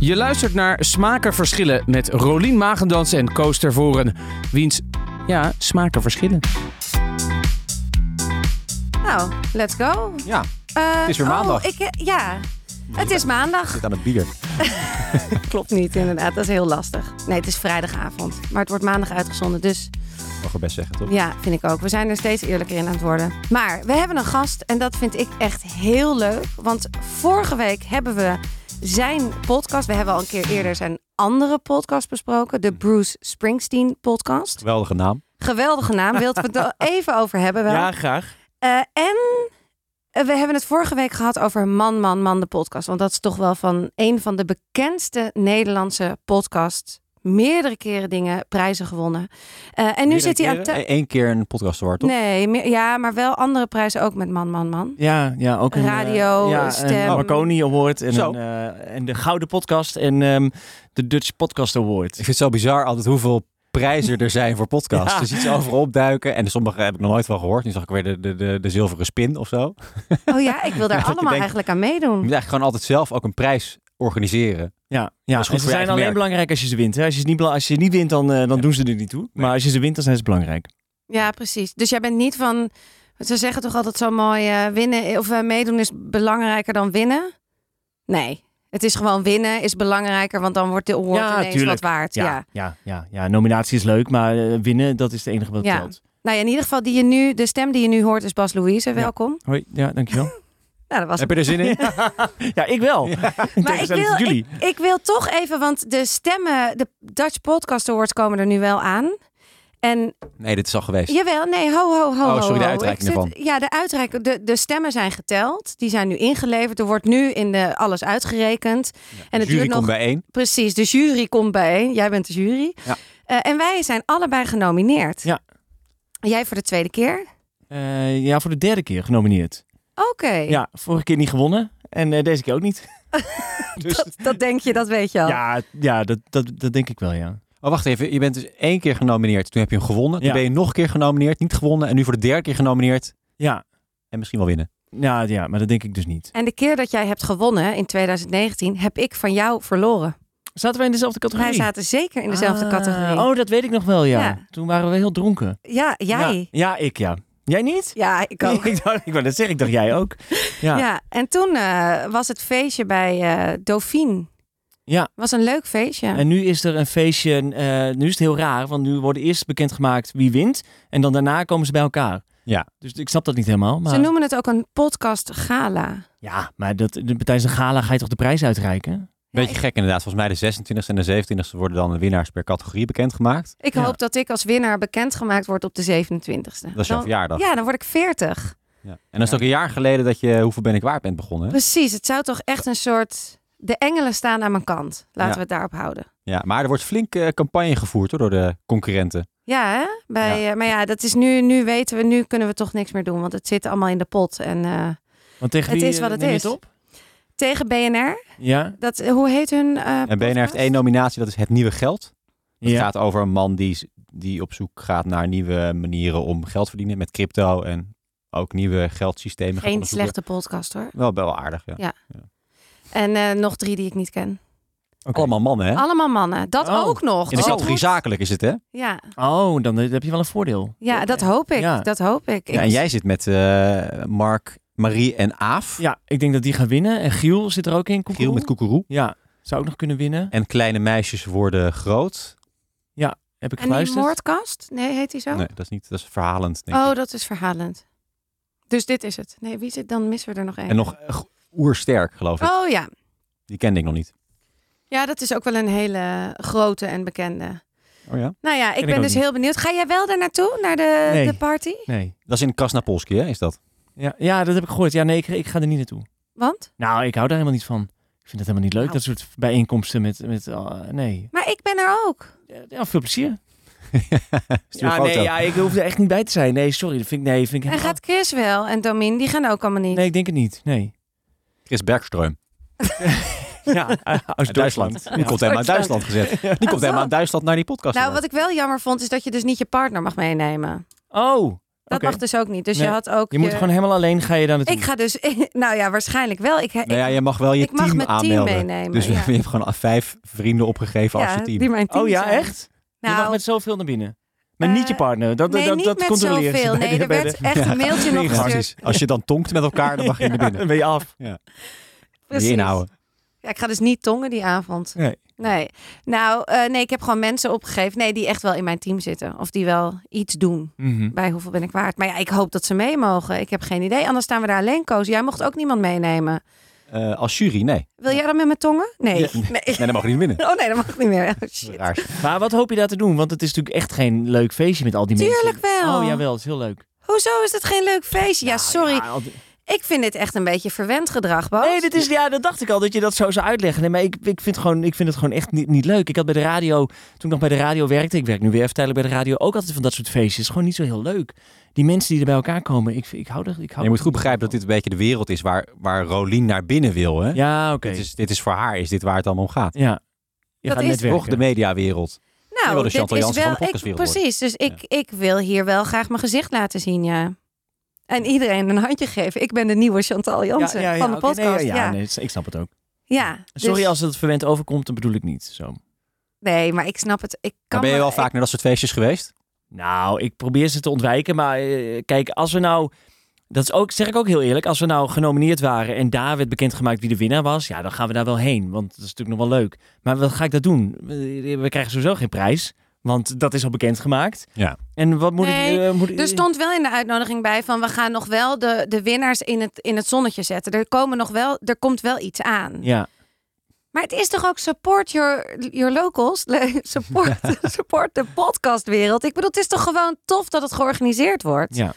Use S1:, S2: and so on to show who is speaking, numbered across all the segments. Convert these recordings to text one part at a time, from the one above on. S1: Je luistert naar Smaken Verschillen met Rolien Magendans en Koos Tervoren. Wiens, ja, smaken verschillen.
S2: Nou, let's go.
S3: Ja,
S2: Eh,
S3: Het is weer maandag.
S2: Oh, ik, eh, ja, het is maandag.
S3: zit aan het bier.
S2: Klopt niet, inderdaad. Dat is heel lastig. Nee, het is vrijdagavond. Maar het wordt maandag uitgezonden. Dus
S3: Mag ik best zeggen, toch?
S2: ja, vind ik ook. We zijn er steeds eerlijker in aan het worden. Maar we hebben een gast en dat vind ik echt heel leuk. Want vorige week hebben we zijn podcast. We hebben al een keer eerder zijn andere podcast besproken. De Bruce Springsteen podcast.
S3: Geweldige naam.
S2: Geweldige naam. Wilt we het er even over hebben wel?
S4: Ja, graag.
S2: Eh, en eh, we hebben het vorige week gehad over Man, Man, Man, de podcast. Want dat is toch wel van een van de bekendste Nederlandse podcasts. Meerdere keren dingen, prijzen gewonnen. Eh, en nu
S4: Meerdere
S2: zit hij aan
S4: keren?
S2: tafel.
S3: E- Eén keer een podcast te waar, toch?
S2: Nee, meer- ja, maar wel andere prijzen ook met Man, Man, Man.
S4: Ja, ja ook een, eh,
S2: Radio,
S4: ja,
S2: stem.
S4: Een Marconi Award en,
S3: Zo.
S4: een, eh, en de Gouden Podcast en ehm, de Dutch Podcast
S3: Ik
S4: Award.
S3: vind het zo bizar altijd hoeveel prijzen er zijn voor podcasts.
S4: Ja.
S3: Dus iets over opduiken. En sommige heb ik nog nooit van gehoord. Nu zag ik weer de, de, de, de zilveren spin of zo. Je
S2: Oh ja, ik wil daar
S3: Dat je
S2: allemaal
S3: denkt-
S2: eigenlijk aan
S3: moet
S2: meedoen.
S3: eigenlijk gewoon altijd zelf ook een prijs organiseren.
S4: Ja, ja.
S3: Dat is goed
S4: en
S3: voor
S4: ze
S3: je
S4: zijn
S3: eigen
S4: alleen
S3: merk.
S4: belangrijk als je ze wint. Hè? Als, je ze niet, bela- als je niet wint, dan, eh, dan doen ze er niet toe. Maar als je ze wint, dan zijn ze belangrijk.
S2: Ja, precies. Dus jij bent niet van... Ze zeggen toch altijd zo mooi, eh, winnen of eh, meedoen is belangrijker dan winnen? Nee, het is gewoon winnen is belangrijker, want dan wordt de award
S4: Ja,
S2: ineens
S4: tuurlijk.
S2: wat waard. ja.
S4: ja, ja, ja, ja. Nominatie is leuk, maar eh, winnen, dat is het enige wat
S2: Ja.
S4: telt.
S2: Nou ja, in ieder geval die je nu, de stem die je nu hoort is Bas Louise. Welkom.
S4: Hoi, ja, dankjewel.
S2: Nou, dat was
S3: Heb je er zin in?
S4: ja, ik wel. In
S2: Maar ik
S4: tegenstelling
S2: wil,
S4: tot jullie.
S2: ik, ik wil toch even, want de stemmen, de Dutch Podcast Awards komen er nu wel aan. En
S3: Nee, dit is al geweest.
S2: jawel, nee, ho, ho, ho.
S3: Oh,
S2: ho,
S3: sorry, de
S2: ho.
S3: uitreiking
S2: Ik zit-
S3: ervan.
S2: Ja, de uitreiking. De, de stemmen zijn geteld. Die zijn nu ingeleverd. Er wordt nu in de, alles uitgerekend. en
S3: De
S2: het
S3: jury
S2: duurt nog
S3: komt bijeen.
S2: Precies, de jury komt bijeen. Jij bent de jury.
S3: Ja.
S2: Eh, en wij zijn allebei genomineerd.
S4: Ja.
S2: Jij voor de tweede keer?
S4: Eh, ja, voor de derde keer genomineerd.
S2: Oké.
S4: Ja, vorige keer niet gewonnen. En eh, deze keer ook niet. dus
S2: Dat, dat denk je, dat weet je al.
S4: ja, ja dat, dat, dat denk ik wel, ja.
S3: Oh, wacht even. Je bent dus één keer genomineerd. Toen heb je hem gewonnen. Toen
S4: Ja.
S3: ben je nog een keer genomineerd. Niet gewonnen. En nu voor de derde keer genomineerd.
S4: Ja,
S3: En misschien wel winnen.
S4: ja, ja maar dat denk ik dus niet.
S2: En de keer dat jij hebt gewonnen in 2019, heb ik van jou verloren.
S4: Zaten wij in dezelfde categorie?
S2: Wij zaten zeker in dezelfde
S4: Ah,
S2: categorie.
S4: Oh, dat weet ik nog wel, ja.
S2: Ja.
S4: Toen waren we heel dronken.
S2: Ja,
S4: Ja,
S2: jij.
S4: ja, ik ja. Jij niet?
S2: Ja, ik ook.
S4: ik dacht, ik wou dat zeggen, ik dacht jij ook. Ja.
S2: Ja.
S4: Ja.
S2: en toen eh, was het feestje bij eh Dauphine. Was een leuk feestje.
S4: En nu is er een feestje, eh, nu is het heel raar, want nu worden eerst bekendgemaakt wie wint. En dan daarna komen ze bij elkaar.
S3: Ja.
S4: Dus ik snap dat niet helemaal. Maar...
S2: Ze noemen het ook een podcast gala.
S4: Ja, maar dat, de- tijdens een gala ga je toch de prijs uitreiken?
S3: Beetje gek inderdaad. Volgens mij de 26e en de 27e worden dan de winnaars per categorie bekendgemaakt.
S2: Ik
S4: Ja.
S2: hoop dat ik als winnaar bekendgemaakt word op de 27e.
S3: Dat is jouw
S2: Dan-
S3: verjaardag.
S2: ja, dan word ik 40.
S3: Ja. En dat is ook een jaar geleden dat je Hoeveel Ben ik waard bent begonnen. hè?
S2: Precies, het zou toch echt een soort... De engelen staan aan mijn kant. Laten
S3: Ja.
S2: we het daarop houden.
S3: Ja, maar er wordt flink eh, campagne gevoerd hoor, door de concurrenten.
S2: Ja, hè? Bij, eh, maar ja, dat is nu, nu weten we, nu kunnen we toch niks meer doen, want het zit allemaal in de pot. En eh,
S4: Want tegen
S2: Het
S4: wie
S2: is wat
S4: eh,
S2: het
S4: neem je
S2: is.
S4: op?
S2: tegen BNR,
S4: Ja.
S2: dat, hoe heet hun? eh,
S3: en BNR heeft
S2: podcast?
S3: één nominatie, dat is Het Nieuwe Geld. Het
S4: ja.
S3: gaat over een man die, die op zoek gaat naar nieuwe manieren om geld te verdienen met crypto en ook nieuwe geldsystemen. gaat
S2: Geen
S3: onderzoeken.
S2: slechte podcast hoor.
S3: Wel, wel aardig, ja.
S2: Ja. En eh, nog drie die ik niet ken.
S4: Oké.
S3: Allemaal mannen, hè?
S2: Allemaal mannen, dat
S4: Oh,
S2: ook nog.
S3: In de
S2: Oh.
S3: categorie zakelijk is het, hè?
S2: Ja,
S4: Oh, dan heb je wel een voordeel.
S2: ja, dat hoop ik,
S4: Ja.
S2: dat hoop ik.
S3: Ja, en jij zit met eh, Mark, Marie en Aaf.
S4: Ja, ik denk dat die gaan winnen. En Giel zit er ook in.
S3: Giel
S4: Koekoe.
S3: met Koekeroe.
S4: Ja, zou ook nog kunnen winnen.
S3: En kleine meisjes worden groot.
S4: Heb ik
S2: en die
S4: geluisterd.
S2: moordkast? Nee, heet die zo?
S3: Nee, dat is niet, dat is verhalend, denk ik.
S2: oh, dat is verhalend. Dus dit is het. Nee, wie zit, dan missen we er nog één.
S3: En nog eh, g- oersterk, geloof ik.
S2: Oh ja,
S3: Die kende ik nog niet.
S2: ja, dat is ook wel een hele grote en bekende.
S3: Oh ja?
S2: Nou ja, ik
S4: ik
S2: ben
S4: ook
S2: dus
S4: niet.
S2: heel benieuwd. Ga jij wel daar naartoe, naar de,
S4: Nee.
S2: de party?
S4: Nee.
S3: Dat is in Krasnapolski, hè, is dat?
S4: Ja, ja, dat heb ik gehoord. Ja, nee, ik, ik ga er niet naartoe.
S2: Want?
S4: Nou, ik hou daar helemaal niet van. Ik vind het helemaal niet leuk,
S2: Nou.
S4: dat soort bijeenkomsten met... met ah, nee.
S2: Maar ik ben er ook.
S4: Ja, veel plezier.
S3: Stuur een foto.
S4: ik hoef er echt niet bij te zijn. Nee, sorry. Dat vind ik, nee, vind ik
S2: En gaat Chris wel en Domin, die gaan ook allemaal niet.
S4: Nee, ik denk het niet. Nee.
S3: Chris Bergström.
S4: Ja, uit
S3: Uit Duitsland. Die komt helemaal uit Duitsland gezet. Die komt helemaal uit Duitsland naar die podcast.
S2: nou, wat ik wel jammer vond, is dat je dus niet je partner mag meenemen.
S4: Oh, oké.
S2: Dat
S4: Oké.
S2: mag dus ook niet. Dus
S4: Nee,
S2: je had ook.
S4: Je moet gewoon helemaal alleen ga je daar naartoe.
S2: Ik ga dus. Nou ja, waarschijnlijk wel. Ik,
S3: Nou ja, je mag wel je
S2: ik mag
S3: team
S2: mijn team
S3: aanmelden.
S2: meenemen,
S3: dus
S2: ja.
S3: je hebt gewoon vijf vrienden opgegeven als
S2: ja,
S3: je team.
S2: die mijn team
S4: oh ja,
S2: zijn.
S4: echt? je mag
S2: Nou,
S4: met zoveel naar binnen. Maar
S2: Eh,
S4: niet je partner. Dat,
S2: nee,
S4: dat,
S2: niet
S4: dat
S2: met
S4: controleren ze
S2: zoveel.
S4: bij
S2: Nee,
S4: de-
S2: er
S4: bij
S2: werd
S4: de-
S2: echt een mailtje nog
S3: Ja,
S2: gestuurd.
S3: precies. Als je dan tonkt met elkaar, dan mag je naar binnen.
S4: Dan ben je af.
S3: Die inhouden.
S2: Ja, ik ga dus niet tongen die avond.
S4: Nee.
S2: Nee. Nou, eh, nee, ik heb gewoon mensen opgegeven. Nee, die echt wel in mijn team zitten. Of die wel iets doen.
S4: Mhm.
S2: Bij hoeveel ben ik waard. Maar ja, ik hoop dat ze mee mogen. Ik heb geen idee. Anders staan we daar alleen, Koos. Jij mocht ook niemand meenemen.
S3: Eh, als jury, nee.
S2: Wil jij dan met mijn tongen? Nee.
S3: Ja.
S2: nee.
S3: Nee, dan mag je niet binnen.
S2: Oh nee, dat mag niet meer. Oh, shit.
S3: Raar.
S4: Maar wat hoop je daar te doen? Want het is natuurlijk echt geen leuk feestje met al die
S2: Tuurlijk
S4: mensen.
S2: wel.
S4: Oh jawel, het is heel leuk.
S2: Hoezo is het geen leuk feestje? Ja,
S4: Nou,
S2: sorry.
S4: ja, al die-
S2: Ik vind dit echt een beetje verwend gedrag, Bas.
S4: Nee, dit is, ja, dat dacht ik al, dat je dat zo zou uitleggen. Nee, maar ik, ik, vind, gewoon, ik vind het gewoon echt niet, niet leuk. Ik had bij de radio, toen ik nog bij de radio werkte, ik werk nu weer even tijdelijk bij de radio, ook altijd van dat soort feestjes. Het is Gewoon niet zo heel leuk. Die mensen die er bij elkaar komen, ik, ik hou er. Ik hou
S3: En je moet goed begrijpen dat dit een beetje de wereld is waar, waar Rolien naar binnen wil. Hè?
S4: Ja, oké.
S3: Dit, is, dit is voor haar, is dit waar het allemaal om gaat.
S4: Ja. Je
S2: Dat
S4: gaat
S2: is-
S4: netwerken.
S3: Toch de mediawereld. Je wil
S2: nou,
S3: de
S2: dit
S3: Chantal
S2: is
S3: Jansen van
S2: wel.
S3: de
S2: ik,
S3: podcastwereld
S2: precies, dus ik, ik wil hier wel graag mijn gezicht laten zien, ja. En iedereen een handje geven. Ik ben de nieuwe Chantal Jansen
S4: Ja, ja, ja,
S2: van de
S4: oké, nee,
S2: podcast.
S4: ja, ja,
S2: ja,
S4: nee, ik snap het ook.
S2: Ja, dus-
S4: Sorry als het verwend overkomt, dat bedoel ik niet. Zo.
S2: Nee, maar ik snap het. Ik kan
S3: Maar ben je
S2: me-
S3: wel vaak naar dat soort feestjes geweest?
S4: Nou, ik probeer ze te ontwijken. Maar eh, kijk, als we nou. Dat is ook, zeg ik ook heel eerlijk. Als we nou genomineerd waren en daar werd bekendgemaakt wie de winnaar was, ja, dan gaan we daar wel heen. Want dat is natuurlijk nog wel leuk. Maar wat ga ik dat doen? We, we krijgen sowieso geen prijs. Want dat is al bekendgemaakt.
S3: Ja.
S4: En wat moet
S2: Nee, dus
S4: ik. eh, moet ik-
S2: Er stond wel in de uitnodiging bij van we gaan nog wel de, de winnaars in het, in het zonnetje zetten. Er, komen nog wel, er komt wel iets aan.
S4: Ja.
S2: Maar het is toch ook support your, your locals? Le- Support, support de podcastwereld. Ik bedoel, het is toch gewoon tof dat het georganiseerd wordt?
S4: Ja.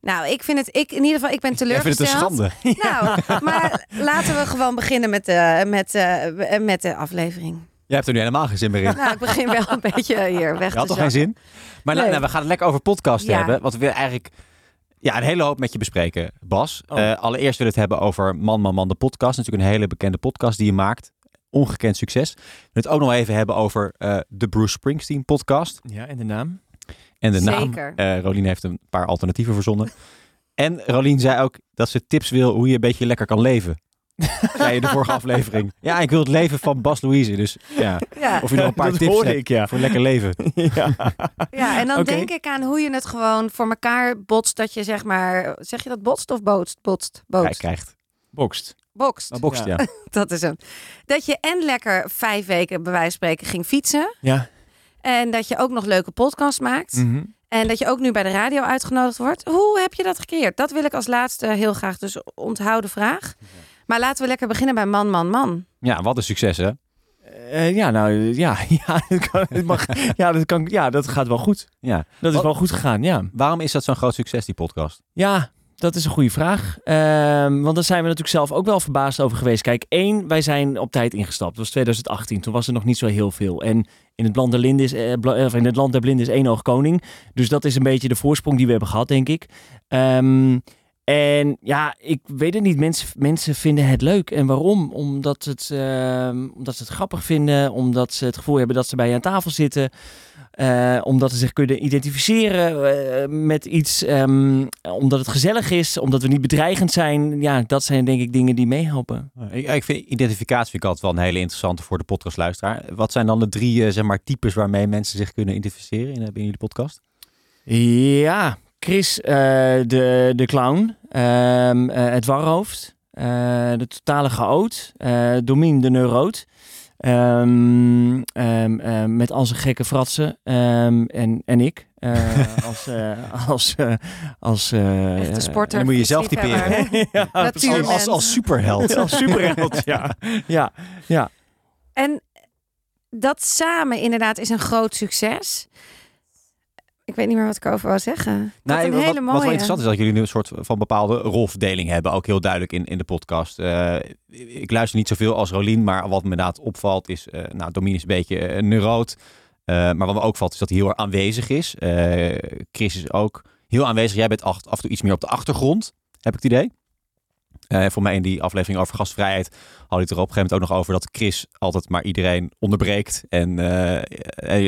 S2: Nou, ik vind het, ik, in ieder geval, ik ben
S3: Ik vind
S2: teleurgesteld.
S3: het een schande.
S2: Nou, maar laten we gewoon beginnen met de, met, eh, met de aflevering.
S3: Jij hebt er nu helemaal geen zin meer in.
S2: Nou, ik begin wel een beetje hier weg
S3: Je had
S2: te
S3: toch geen zin? Maar nou,
S2: Nee.
S3: nou, we gaan het lekker over podcasten
S2: Ja.
S3: hebben. Wat we eigenlijk ja, een hele hoop met je bespreken, Bas.
S4: Oh.
S3: Eh, allereerst wil ik het hebben over Man, Man, Man, de podcast. Natuurlijk een hele bekende podcast die je maakt. Ongekend succes. We willen het ook nog even hebben over eh, de Bruce Springsteen podcast.
S4: ja, en de naam?
S3: En de naam.
S2: Zeker.
S3: Eh Rolien heeft een paar alternatieven verzonnen. en Rolien zei ook dat ze tips wil hoe je een beetje lekker kan leven. zei je in de vorige aflevering. Ja, ik wil het leven van Bas Louise. Dus ja,
S2: Ja,
S3: of je nog een paar
S4: dat
S3: tips
S4: hoorde
S3: hebt
S4: ik, ja.
S3: voor lekker leven.
S4: ja.
S2: ja, en dan
S4: Oké.
S2: denk ik aan hoe je het gewoon voor elkaar botst. Dat je zeg maar, zeg je dat botst of bootst? Botst,
S3: Hij
S2: bootst,
S3: krijgt.
S4: Bokst.
S2: bokst.
S3: Nou, bokst,
S4: Ja.
S3: ja.
S2: Dat is hem. Dat je en lekker vijf weken bij wijze van spreken ging fietsen.
S4: Ja.
S2: En dat je ook nog leuke podcasts maakt.
S4: Mhm.
S2: En dat je ook nu bij de radio uitgenodigd wordt. Hoe heb je dat gekeerd? Dat wil ik als laatste heel graag dus onthouden vraag. Maar laten we lekker beginnen bij man, man, man.
S3: Ja, wat een succes, hè?
S4: Eh, ja, nou ja. Ja, dat, kan, het mag, ja, dat, kan, ja, dat gaat wel goed.
S3: Ja.
S4: Dat is
S3: Wat-
S4: wel goed gegaan, ja.
S3: Waarom is dat zo'n groot succes, die podcast?
S4: Ja, dat is een goede vraag. Ehm, want daar zijn we natuurlijk zelf ook wel verbaasd over geweest. Kijk, één, wij zijn op tijd ingestapt. Dat was 2018. Toen was er nog niet zo heel veel. En in het land der, blinden is, eh, bla- of in het land der blinden is één oog koning. Dus dat is een beetje de voorsprong die we hebben gehad, denk ik. Ehm, en ja, ik weet het niet. Mensen, mensen vinden het leuk. En waarom? Omdat, het, ehm, omdat ze het grappig vinden. Omdat ze het gevoel hebben dat ze bij je aan tafel zitten. Eh, omdat ze zich kunnen identificeren eh, met iets. ehm, omdat het gezellig is. Omdat we niet bedreigend zijn. Ja, dat zijn denk ik dingen die meehelpen.
S3: Ik, ik vind identificatie vind ik altijd wel een hele interessante voor de podcastluisteraar. Wat zijn dan de drie eh, zeg maar, types waarmee mensen zich kunnen identificeren in, eh, in jullie podcast?
S4: Ja, Chris eh, de, de clown. Ehm, eh, het warhoofd. eh, de totale chaot. eh Domien de neuroot. ehm, ehm, ehm, met al zijn gekke fratsen. ehm, en, en ik. eh, als eh, als, eh, als eh,
S2: Echte sporter.
S3: dan moet je jezelf
S2: fietsliefhebber.
S3: typeren.
S4: ja,
S2: Natuurlijk.
S4: precies.
S3: Als, als, als superheld.
S4: Als superheld, ja. ja.
S2: En dat samen inderdaad is een groot succes. Ik weet niet meer wat ik over wou zeggen. Dat
S3: Nee,
S2: een
S3: Nou, wat,
S2: hele
S3: wat
S2: mooie.
S3: wel interessant is dat jullie nu een soort van bepaalde rolverdeling hebben, ook heel duidelijk in, in de podcast. Eh, ik luister niet zoveel als Rolien, maar wat me inderdaad opvalt is, eh nou, Domien is een beetje eh, een neuroot. Eh, maar wat me ook valt is dat hij heel erg aanwezig is. Eh, Chris is ook heel aanwezig. Jij bent af, af en toe iets meer op de achtergrond, heb ik het idee. Eh voor mij in die aflevering over gastvrijheid had hij het er op een gegeven moment ook nog over dat Chris altijd maar iedereen onderbreekt en eh,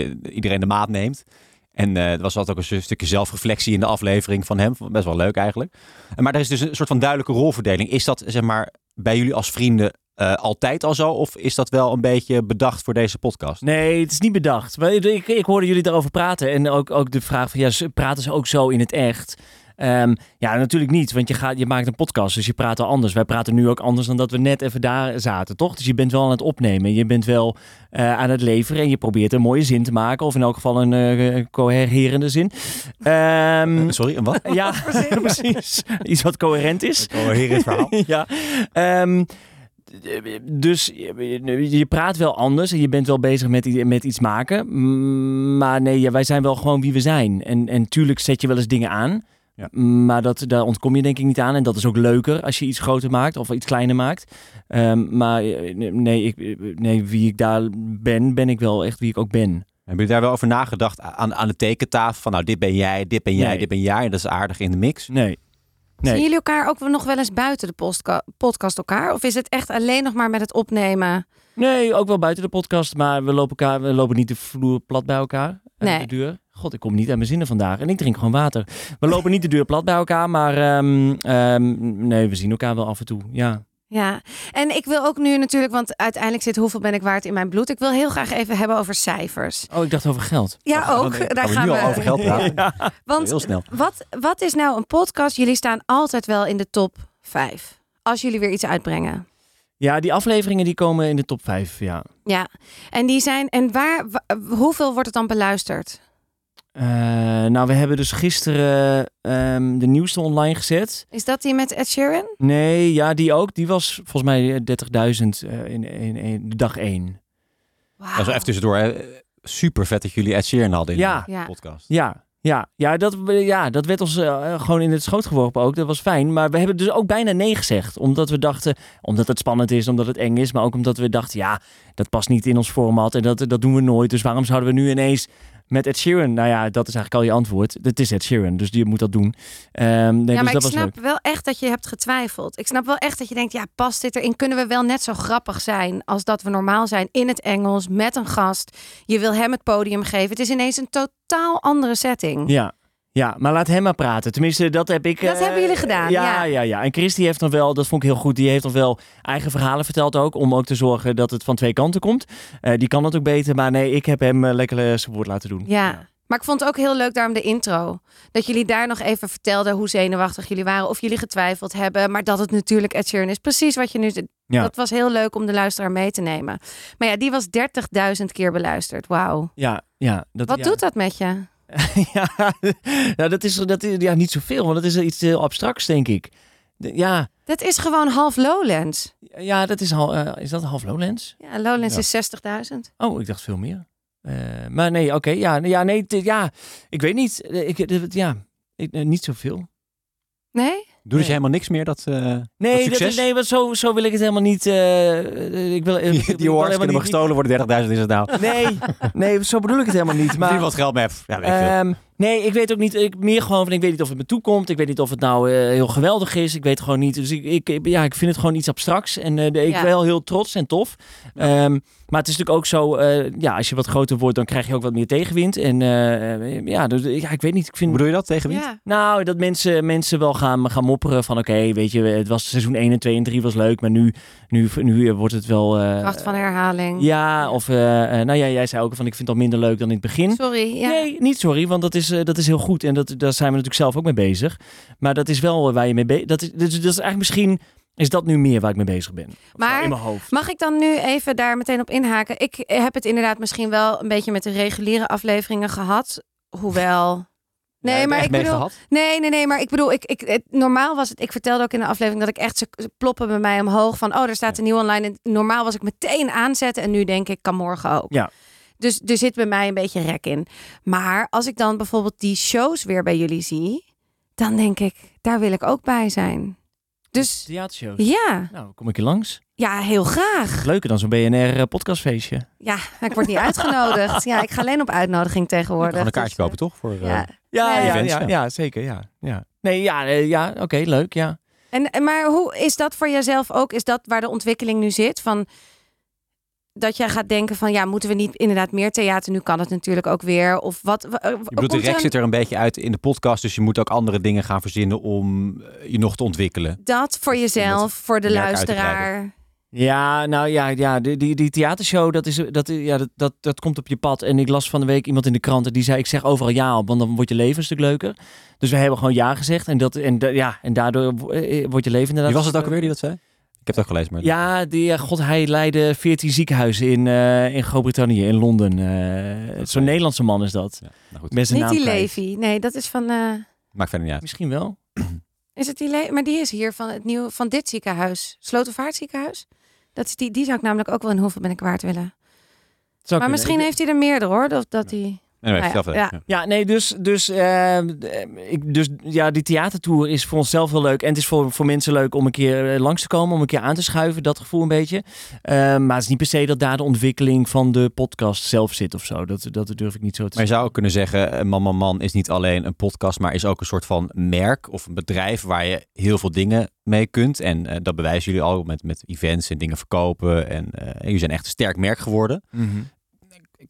S3: eh, iedereen de maat neemt. En eh, er was altijd ook een stukje zelfreflectie in de aflevering van hem. Best wel leuk eigenlijk. En Maar er is dus een soort van duidelijke rolverdeling. Is dat zeg maar bij jullie als vrienden eh, altijd al zo? Of is dat wel een beetje bedacht voor deze podcast?
S4: Nee, het is niet bedacht. Maar ik, ik, ik hoorde jullie daarover praten. En ook, ook de vraag van, ja, ze- praten ze ook zo in het echt? Ehm, ja, natuurlijk niet. Want je, gaat, je maakt een podcast, dus je praat al anders. Wij praten nu ook anders dan dat we net even daar zaten, toch? Dus je bent wel aan het opnemen. Je bent wel eh, aan het leveren. En je probeert een mooie zin te maken. Of in elk geval een eh, cohererende zin. Ehm,
S3: Eh, Sorry, een wat?
S4: ja, precies. Iets wat coherent is.
S3: Oh, hier het verhaal.
S4: ja. ehm, dus je je praat wel anders en je bent wel bezig met, i- met iets maken. Mm, Maar nee, ja, wij zijn wel gewoon wie we zijn. En, en tuurlijk zet je wel eens dingen aan.
S3: Ja.
S4: Maar dat, daar ontkom je denk ik niet aan. En dat is ook leuker als je iets groter maakt of iets kleiner maakt. Ehm, maar eh, nee, ik, nee, wie ik daar ben, ben ik wel echt wie ik ook ben.
S3: Hebben jullie daar wel over nagedacht aan, aan de tekentafel? Van nou, dit ben jij, dit ben jij,
S4: Nee.
S3: dit ben jij. En dat is aardig in de mix.
S4: Nee. Nee.
S2: Zien jullie elkaar ook nog wel eens buiten de postka- podcast elkaar? Of is het echt alleen nog maar met het opnemen?
S4: Nee, ook wel buiten de podcast, maar we lopen, elkaar, we lopen niet de vloer plat bij elkaar. eh,
S2: Nee.
S4: De deur. God, ik kom niet aan mijn zinnen vandaag en ik drink gewoon water. We lopen niet de deur plat bij elkaar, maar ehm, ehm, nee, we zien elkaar wel af en toe. Ja.
S2: Ja, en ik wil ook nu natuurlijk, want uiteindelijk zit hoeveel ben ik waard in mijn bloed. Ik wil heel graag even hebben over cijfers.
S4: Oh, ik dacht over geld.
S2: Ja,
S3: Oh,
S2: ook.
S3: nee,
S2: Daar
S3: we
S2: gaan
S3: nu
S2: we.
S3: al over geld praten.
S2: Want
S3: Heel snel.
S2: Wat, wat is nou een podcast? Jullie staan altijd wel in de top 5. Als jullie weer iets uitbrengen.
S4: Ja, die afleveringen die komen in de top 5, ja.
S2: Ja. En die zijn. En waar, wa- hoeveel wordt het dan beluisterd?
S4: Eh, nou, we hebben dus gisteren ehm, de nieuwste online gezet.
S2: Is dat die met Ed Sheeran?
S4: Nee, ja, die ook. Die was volgens mij eh, 30.000 eh, in, in, in dag 1.
S2: Wauw.
S3: Dat is wel even tussendoor. Hè. Super vet dat jullie Ed Sheeran hadden in
S4: Ja.
S3: de
S2: Ja.
S3: podcast.
S4: Ja, ja, ja, dat, ja, dat werd ons eh, gewoon in het schoot geworpen ook. Dat was fijn. Maar we hebben dus ook bijna nee gezegd. Omdat we dachten, omdat het spannend is, omdat het eng is. Maar ook omdat we dachten, ja, dat past niet in ons format. En dat, dat doen we nooit. Dus waarom zouden we nu ineens met Ed Sheeran? Nou ja, dat is eigenlijk al je antwoord. Het is Ed Sheeran, dus je moet dat doen. Ehm, nee,
S2: ja,
S4: dus
S2: maar
S4: dat
S2: ik
S4: was
S2: snap
S4: leuk.
S2: wel echt dat je hebt getwijfeld. Ik snap wel echt dat je denkt, ja, past dit erin? Kunnen we wel net zo grappig zijn als dat we normaal zijn in het Engels met een gast? Je wil hem het podium geven. Het is ineens een totaal andere setting.
S4: Ja. Ja, maar laat hem maar praten. Tenminste, dat heb ik.
S2: Dat
S4: eh,
S2: hebben jullie gedaan, ja.
S4: ja, ja, ja. En Chris die heeft dan wel, dat vond ik heel goed, die heeft dan wel eigen verhalen verteld ook. Om ook te zorgen dat het van twee kanten komt. Eh, die kan dat ook beter, maar nee, ik heb hem eh, lekker eh, zijn woord laten doen.
S2: Ja. Maar ik vond het ook heel leuk daarom de intro. Dat jullie daar nog even vertelden hoe zenuwachtig jullie waren. Of jullie getwijfeld hebben. Maar dat het natuurlijk Ed Sheeran is. Precies wat je nu...
S4: Ja.
S2: Dat was heel leuk om de luisteraar mee te nemen. Maar ja, die was 30.000 keer beluisterd. Wauw.
S4: Ja, ja. Dat,
S2: Wat
S4: ja.
S2: doet dat met je?
S4: ja, nou, dat is, dat is ja, niet zoveel, want dat is iets heel abstracts, denk ik. De- ja,
S2: Dat is gewoon half Lowlands.
S4: ja, dat is, hal, eh, is dat half Lowlands?
S2: Ja, Lowlands is 60.000.
S4: Oh, ik dacht veel meer. Eh, maar nee, oké, ja, ja, nee, t- ja, ik weet niet. Eh, Ik, eh, ja, ik, eh, niet zoveel.
S2: Nee?
S3: Doen ze helemaal niks meer? Dat, eh, dat
S4: Nee, dat
S3: succes?
S4: is, nee want zo, zo wil ik het helemaal niet. eh, eh, ik wil, eh,
S3: Die,
S4: ik wil
S3: die awards
S4: helemaal
S3: kunnen maar
S4: niet-
S3: gestolen worden. 30.000 is het nou.
S4: Nee, nee, zo bedoel ik het helemaal niet.
S3: Maar,
S4: Maar,
S3: wat geld mee hebt. Ja, weet ik veel.
S4: Ehm, nee, ik weet ook niet. Ik, meer gewoon van, ik weet niet of het me toekomt. Ik weet niet of het nou eh, heel geweldig is. Ik weet gewoon niet. Dus ik, ik, ik- ja, ik vind het gewoon iets abstracts. En eh, de- ik
S2: Ja.
S4: ben wel heel trots en tof. Ehm, maar het is natuurlijk ook zo, eh, ja, als je wat groter wordt, dan krijg je ook wat meer tegenwind. En eh, eh, ja, dus, ja, ik weet niet. Ik
S3: Hoe
S4: vind,
S3: bedoel je dat tegen wie?
S2: Ja.
S4: nou, dat mensen, mensen wel gaan, gaan mopperen van oké, weet je, het was seizoen 1 en 2 en 3 was leuk, maar nu, nu, nu wordt het wel... eh,
S2: Kracht van herhaling.
S4: ja, of eh, eh, nou ja, jij zei ook van ik vind het al minder leuk dan in het begin.
S2: Sorry. Ja.
S4: Nee, niet sorry, want dat is, eh, dat is heel goed en dat, daar zijn we natuurlijk zelf ook mee bezig. Maar dat is wel eh, waar je mee bezig dat is, dat, is, dat is eigenlijk misschien, is dat nu meer waar ik mee bezig ben. Of nou,
S2: Maar-
S4: in mijn hoofd.
S2: Mag ik dan nu even daar meteen op inhaken? Ik heb het inderdaad misschien wel een beetje met de reguliere afleveringen gehad. Hoewel.
S3: Heb
S2: Nee,
S3: je
S2: maar
S3: echt
S2: ik
S3: mee
S2: bedoel.
S3: gehad?
S2: Nee, nee, nee, maar ik bedoel, ik, ik, het, normaal was het, ik vertelde ook in de aflevering dat ik echt, ze ze ploppen bij mij omhoog van, oh, er staat een nieuw online. En normaal was ik meteen aanzetten en nu denk ik, kan morgen ook.
S4: Ja.
S2: Dus er zit bij mij een beetje rek in. Maar als ik dan bijvoorbeeld die shows weer bij jullie zie, dan denk ik, daar wil ik ook bij zijn. Dus
S4: Theatershows.
S2: ja,
S4: Nou, kom ik je langs.
S2: ja, heel graag.
S4: Leuker dan zo'n eh, BNR-podcastfeestje.
S2: Ja, maar ik word niet uitgenodigd. Ja, ik ga alleen op uitnodiging tegenwoordig.
S3: Gewoon een kaartje
S2: Dus,
S3: kopen, toch? Voor, eh,
S2: eh, Ja.
S4: Ja,
S2: Nee.
S4: ja,
S3: Events,
S4: ja,
S3: ja.
S4: ja, zeker, ja. ja. Nee, ja, eh, ja oké, leuk, ja.
S2: En, en maar hoe is dat voor jezelf ook? Is dat waar de ontwikkeling nu zit? Van dat jij gaat denken van ja, moeten we niet inderdaad meer theater? Nu kan het natuurlijk ook weer. Of wat? wa- eh,
S3: Je bedoelt, de
S2: komt er
S3: rek
S2: een-
S3: zit er een beetje uit in de podcast, dus je moet ook andere dingen gaan verzinnen om eh, je nog te ontwikkelen.
S2: Dat voor jezelf, voor de
S3: merk uit te
S2: luisteraar.
S4: Ja, nou ja, ja die, die, die theatershow, dat, is, dat, ja, dat, dat, dat komt op je pad. En ik las van de week iemand in de krant en die zei, ik zeg overal ja op, want dan wordt je leven een stuk leuker. Dus we hebben gewoon ja gezegd en, dat, en, da- ja, en daardoor wo- eh, wordt je leven inderdaad...
S3: Wie was het ook alweer die dat zei? Ik heb het ook gelezen, maar...
S4: Ja, die, eh, god, hij leidde 14 ziekenhuizen in, eh, in Groot-Brittannië, in Londen. eh,
S3: Dat is-
S4: Zo'n Nederlandse man is dat.
S3: Ja, nou goed,
S4: Met zijn
S2: Niet
S4: naam
S2: die
S4: kwijt.
S2: Levi. Nee, dat is van. eh,
S3: maakt verder niet uit.
S4: Misschien wel.
S2: is het die Le- Maar die is hier van, het nieuwe, van dit ziekenhuis. Slotervaart ziekenhuis. Dat is die, die zou ik namelijk ook wel in hoeveel ben ik waard willen.
S4: Zou
S2: Maar
S4: kunnen.
S2: misschien heeft hij er meerdere hoor. Dat, dat die...
S3: Anyway,
S2: Nou ja,
S3: vertel verder.
S4: Ja, nee, dus, dus, ehm, eh, ik, dus ja, die theatertour is voor onszelf heel leuk. En het is voor, voor mensen leuk om een keer eh, langs te komen, om een keer aan te schuiven, dat gevoel een beetje. Ehm, maar het is niet per se dat daar de ontwikkeling van de podcast zelf zit of zo. Dat, dat durf ik niet zo te
S3: Maar je zou ook kunnen zeggen, eh, Man Man Man is niet alleen een podcast, maar is ook een soort van merk of een bedrijf waar je heel veel dingen mee kunt. En eh, dat bewijzen jullie al met, met events en dingen verkopen. En eh, jullie zijn echt een sterk merk geworden.
S4: zeggen.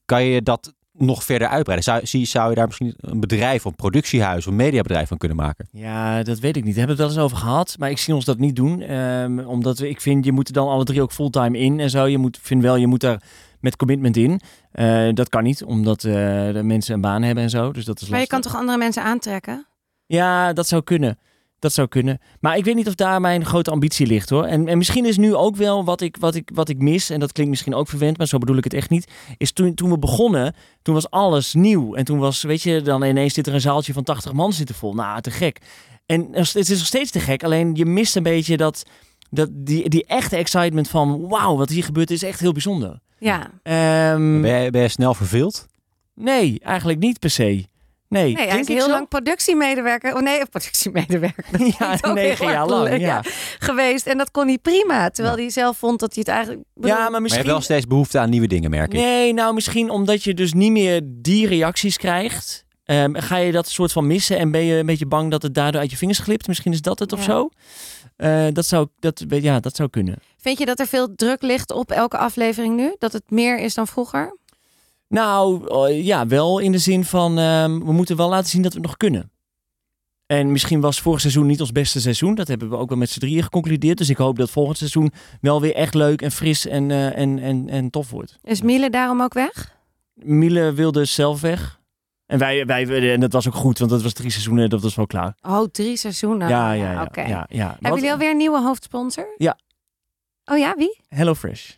S3: Kan je dat nog verder uitbreiden? Zou, zie- zou je daar misschien een bedrijf, een productiehuis, een mediabedrijf van kunnen maken?
S4: Ja, dat weet ik niet. We hebben het wel eens over gehad. Maar ik zie ons dat niet doen. Ehm, omdat we- ik vind, je moet er dan alle drie ook fulltime in en zo. Je moet, ik vind wel, je moet daar met commitment in. Eh, dat kan niet, omdat eh, de mensen een baan hebben en zo. Dus dat is
S2: Maar je
S4: lastig.
S2: kan toch andere mensen aantrekken?
S4: Ja, dat zou kunnen. Dat zou kunnen. Maar ik weet niet of daar mijn grote ambitie ligt hoor. En, en misschien is nu ook wel wat ik, wat, ik, wat ik mis. En dat klinkt misschien ook verwend, maar zo bedoel ik het echt niet. Is toen, toen we begonnen, toen was alles nieuw. En toen was, weet je, dan ineens zit er een zaaltje van 80 man zitten vol. Nou, te gek. En het is nog steeds te gek. Alleen je mist een beetje dat, dat die, die echte excitement van... Wauw, wat hier gebeurt is echt heel bijzonder.
S2: Ja. Mm.
S4: Ehm,
S3: Ben je, ben je snel verveeld?
S4: nee, eigenlijk niet per se. Nee,
S2: Nee, hij
S4: Denk
S2: is
S4: ik
S2: heel
S4: zo?
S2: lang productiemedewerker. Oh nee, productiemedewerker. Dat
S4: Ja,
S2: klinkt ook
S4: negen
S2: heel
S4: jaar
S2: erg
S4: lang.
S2: leuk,
S4: Ja.
S2: geweest. En dat kon hij prima. Terwijl hij zelf vond dat hij het eigenlijk. bedoel-
S4: ja, maar
S3: Maar je
S4: misschien...
S3: hebt wel steeds behoefte aan nieuwe dingen, merk ik.
S4: Nee, nou misschien omdat je dus niet meer die reacties krijgt. ehm, ga je dat soort van missen en ben je een beetje bang dat het daardoor uit je vingers glipt? Misschien is dat het of
S2: Ja.
S4: zo. Eh, dat, zou, dat, ja, dat zou kunnen.
S2: Vind je dat er veel druk ligt op elke aflevering nu? Dat het meer is dan vroeger?
S4: Nou eh, ja, wel in de zin van ehm, we moeten wel laten zien dat we het nog kunnen. En misschien was vorig seizoen niet ons beste seizoen. Dat hebben we ook wel met z'n drieën geconcludeerd. Dus ik hoop dat volgend seizoen wel weer echt leuk en fris en, eh, en, en, en tof wordt.
S2: Is Miele daarom ook weg?
S4: Miele wilde zelf weg. En, wij, wij, en dat was ook goed, want dat was drie seizoenen en dat was wel klaar.
S2: Oh, drie seizoenen.
S4: ja, ja, ja.
S2: Oké.
S4: ja, ja. Wat-
S2: Hebben jullie alweer een nieuwe hoofdsponsor?
S4: Ja.
S2: Oh ja, wie?
S4: Hello Fresh.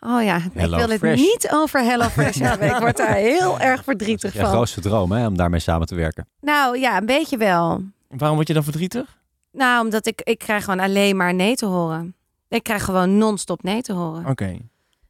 S2: Oh ja, ik
S3: Hello
S2: wil het
S3: Fresh.
S2: niet over Hello Fresh hebben. Ik word daar heel erg verdrietig
S3: Je
S2: van.
S3: grootste droom, hè, om daarmee samen te werken.
S2: Nou ja, een beetje wel.
S4: Waarom word je dan verdrietig?
S2: Nou, omdat ik, ik krijg gewoon alleen maar nee te horen. Ik krijg gewoon non-stop nee te horen.
S4: Oké.